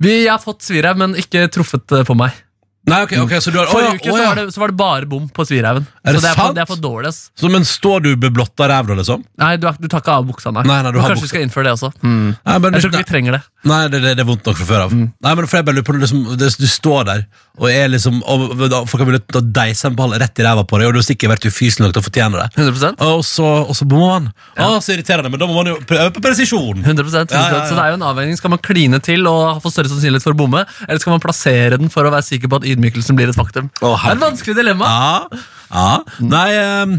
S3: Vi, jeg har fått svirev, men ikke truffet eh, på meg.
S2: Nei, ok, ok, så du har... Å,
S3: Forrige
S2: ja,
S3: uke
S2: å,
S3: så,
S2: ja.
S3: var det, så var det bare bom på svireven.
S2: Er det
S3: så det er, på,
S2: sant?
S3: det er for dårlig, ass.
S2: Så, men står du beblotta ræv, da, liksom?
S3: Nei, du, har- du tar ikke av buksa, nei.
S2: Nei, nei, du
S3: Men
S2: har
S3: Kanskje
S2: buksa.
S3: vi skal innføre det også. Hmm.
S2: Nei, men,
S3: Jeg tror
S2: nei,
S3: ikke vi trenger det.
S2: nei det, det, det er vondt nok fra før av. Nei, men for jeg bare lurer på, liksom, det, Du står der, og er liksom og, og, da- folk har mulighet til å deise en ball rett i ræva på deg, og du har sikkert vært ufyselig nok til å fortjene det.
S3: 100
S2: Og så, og så bommer man. Å, så irriterende, men da må man jo øve på presisjon.
S3: 100%, 100%.
S2: Ja, ja, ja.
S3: Så det er jo en avveining. Skal man kline til og få større sannsynlighet for å bomme, eller skal man plassere den for å være sikker på at ydmykelsen blir et faktum?
S2: Å,
S3: det er et
S2: herregud.
S3: vanskelig dilemma.
S2: Ja, ja. Nei, ehm,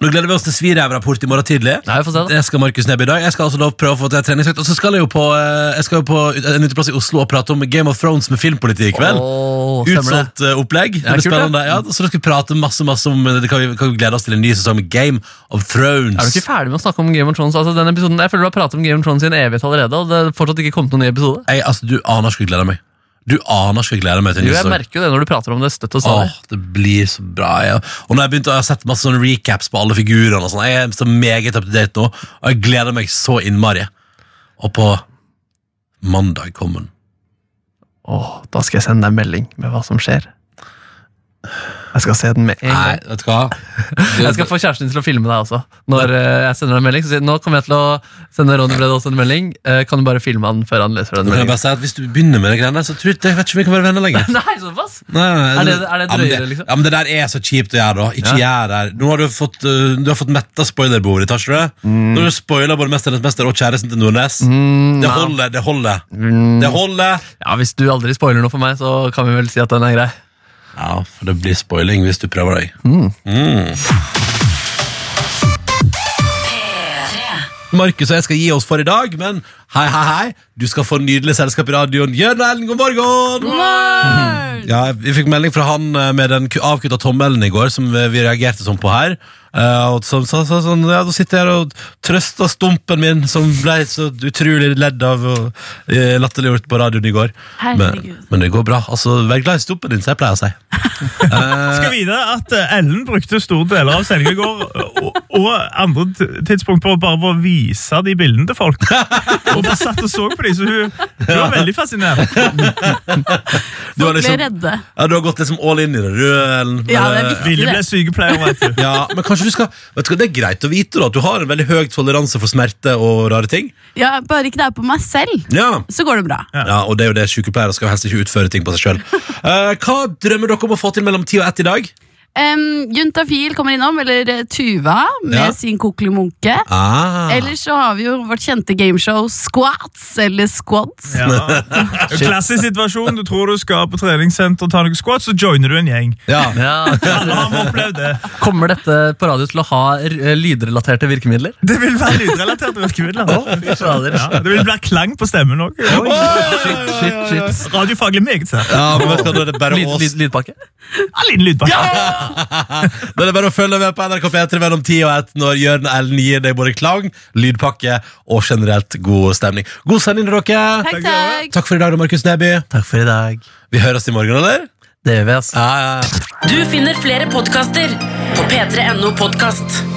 S2: nå gleder vi oss til svirev-rapport i morgen tidlig.
S3: Nei, vi får se da.
S2: Det skal Markus Neby i dag. Jeg skal altså da prøve å få til en treningsøkt. Og så skal jeg jo på, eh, jeg skal jo på en uteplass i Oslo og prate om Game of Thrones med filmpoliti i kveld.
S3: Åh, stemmer det.
S2: Utsolgt eh, opplegg. Det
S3: Ja,
S2: er
S3: kult,
S2: spennende. Ja, så dere skal prate masse masse om eh, det kan vi, kan vi glede oss til en ny sesong med Game of Thrones.
S3: Er du ikke ferdig med å snakke om Game of Thrones? Altså, den episoden, jeg føler du har pratet om Game of Thrones i en evighet allerede, og det er fortsatt ikke kommet noen ny episode.
S2: jeg, altså, du aner ikke hvor jeg gleder meg. Du aner ikke hvor jeg gleder meg til en
S3: Jo,
S2: ny
S3: jeg
S2: sesong.
S3: merker jo det når du prater om det støtt og stadig.
S2: Åh, det blir så bra. Ja. Og når jeg begynte, jeg har sett masse sånne recaps på alle figurene. Og sånn. jeg er så meget up to date nå, og jeg gleder meg så innmari. Og på mandag kommer den.
S3: Åh, da skal jeg sende deg en melding med hva som skjer. Jeg skal se den med en gang.
S2: Nei, vet du hva?
S3: Jeg skal få kjæresten din til å filme deg også. Når eh, jeg sender deg en melding, så sier jeg, nå kommer jeg til å sende Ronny Brede også en melding. Eh, kan du bare filme han før han leser den
S2: Nå kan jeg
S3: meldingen?
S2: bare si at Hvis du begynner med de greiene der, så tror jeg, jeg vet ikke om vi kan være venner lenger.
S3: Nei, såpass?
S2: Nei, nei, nei.
S3: Er det- er det
S2: Ja, men
S3: drøyere, liksom?
S2: Ja, men Det der er så kjipt å gjøre, da. Ikke gjør det. Nå har du fått, uh, du har fått metta spoilerbordet ditt, har ikke du det?
S3: Mm.
S2: Nå har du spoila både 'Mesternes mester' og 'Kjæresten til Nordnes'. det holder, det holder.
S3: Mm.
S2: Det holder.
S3: Ja, Hvis du aldri spoiler noe for meg, så kan vi vel si at den er grei.
S2: Ja, for det blir spoiling hvis du prøver deg. Mm. Markus og jeg skal gi oss for i dag, men hei, hei, hei. Du skal få nydelig selskap i radioen. Jørn og Ellen, god morgen! Ja, vi fikk melding fra han eh, med den ku- avkutta tommelen i går, som vi vi reagerte sånn på her. Eh, og som sa sa sånn Ja, da sitter jeg her og trøster stumpen min, som ble så utrolig ledd av og eh, latterliggjort på radioen i går. Men,
S5: Herregud.
S2: men det går bra. Altså, Vær glad i stumpen din, som jeg pleier å si.
S6: skal vite at eh, Ellen brukte store deler av sendingen i går og, og andre t- tidspunkt på å bare å vise de bildene til folk. Og bare satt og så på dem, så hun, hun var veldig fascinert.
S2: Du har,
S5: Folk blir
S2: liksom,
S5: redde.
S2: ja, du har gått liksom all in i det, du, Ellen.
S5: Ja, det er
S2: Men, eh,
S5: viktig.
S6: Ville ble sykepleier, vet du.
S2: Ja, men kanskje du skal vet du, hva, Det er greit å vite da, at du har en veldig høy toleranse for smerte og rare ting.
S7: Ja, bare ikke det er på meg selv,
S2: Ja,
S7: så går det bra.
S2: ja. Og det er jo det sykepleiere skal jo helst ikke utføre ting på seg sjøl. hva drømmer dere om å få til mellom ti og ett i dag?
S7: Um, Juntafil kommer innom, eller eh, Tuva med
S2: Ja.
S7: sin kokkelimunke.
S2: Ah.
S7: Ellers så har vi jo vårt kjente gameshow Squats, eller Squads.
S6: Ja. Klassisk situasjon. Du tror du skal på treningssenter og ta noen squats, så joiner du en gjeng.
S2: Ja.
S3: Ja.
S6: Alle har vi opplevd det.
S3: Kommer dette på radio til å ha r- eh, lydrelaterte virkemidler?
S6: Det vil være lydrelaterte virkemidler.
S3: fy fader.
S6: Ja, det vil være klang på stemmen òg.
S3: Shit, shit, shit.
S6: Radiofaglig meget sært.
S2: ja, men vet du hva, da er det bare
S3: Lyd,
S2: oss.
S3: lyd, lydpakke?
S6: Ja, liten lydbakk.
S2: Da er det bare å følge med på NRK P3 mellom 10 og 1 når Jørn og Ellen gir deg både klang, lydpakke og generelt god stemning. God sending til dere.
S7: Takk, takk.
S2: Takk for i dag, da, Markus Neby.
S3: Takk for i dag.
S2: Vi høres i morgen, eller?
S3: Det gjør vi, ass.
S2: Ja, ja, ja.
S4: Du finner flere podkaster på p3.no podkast.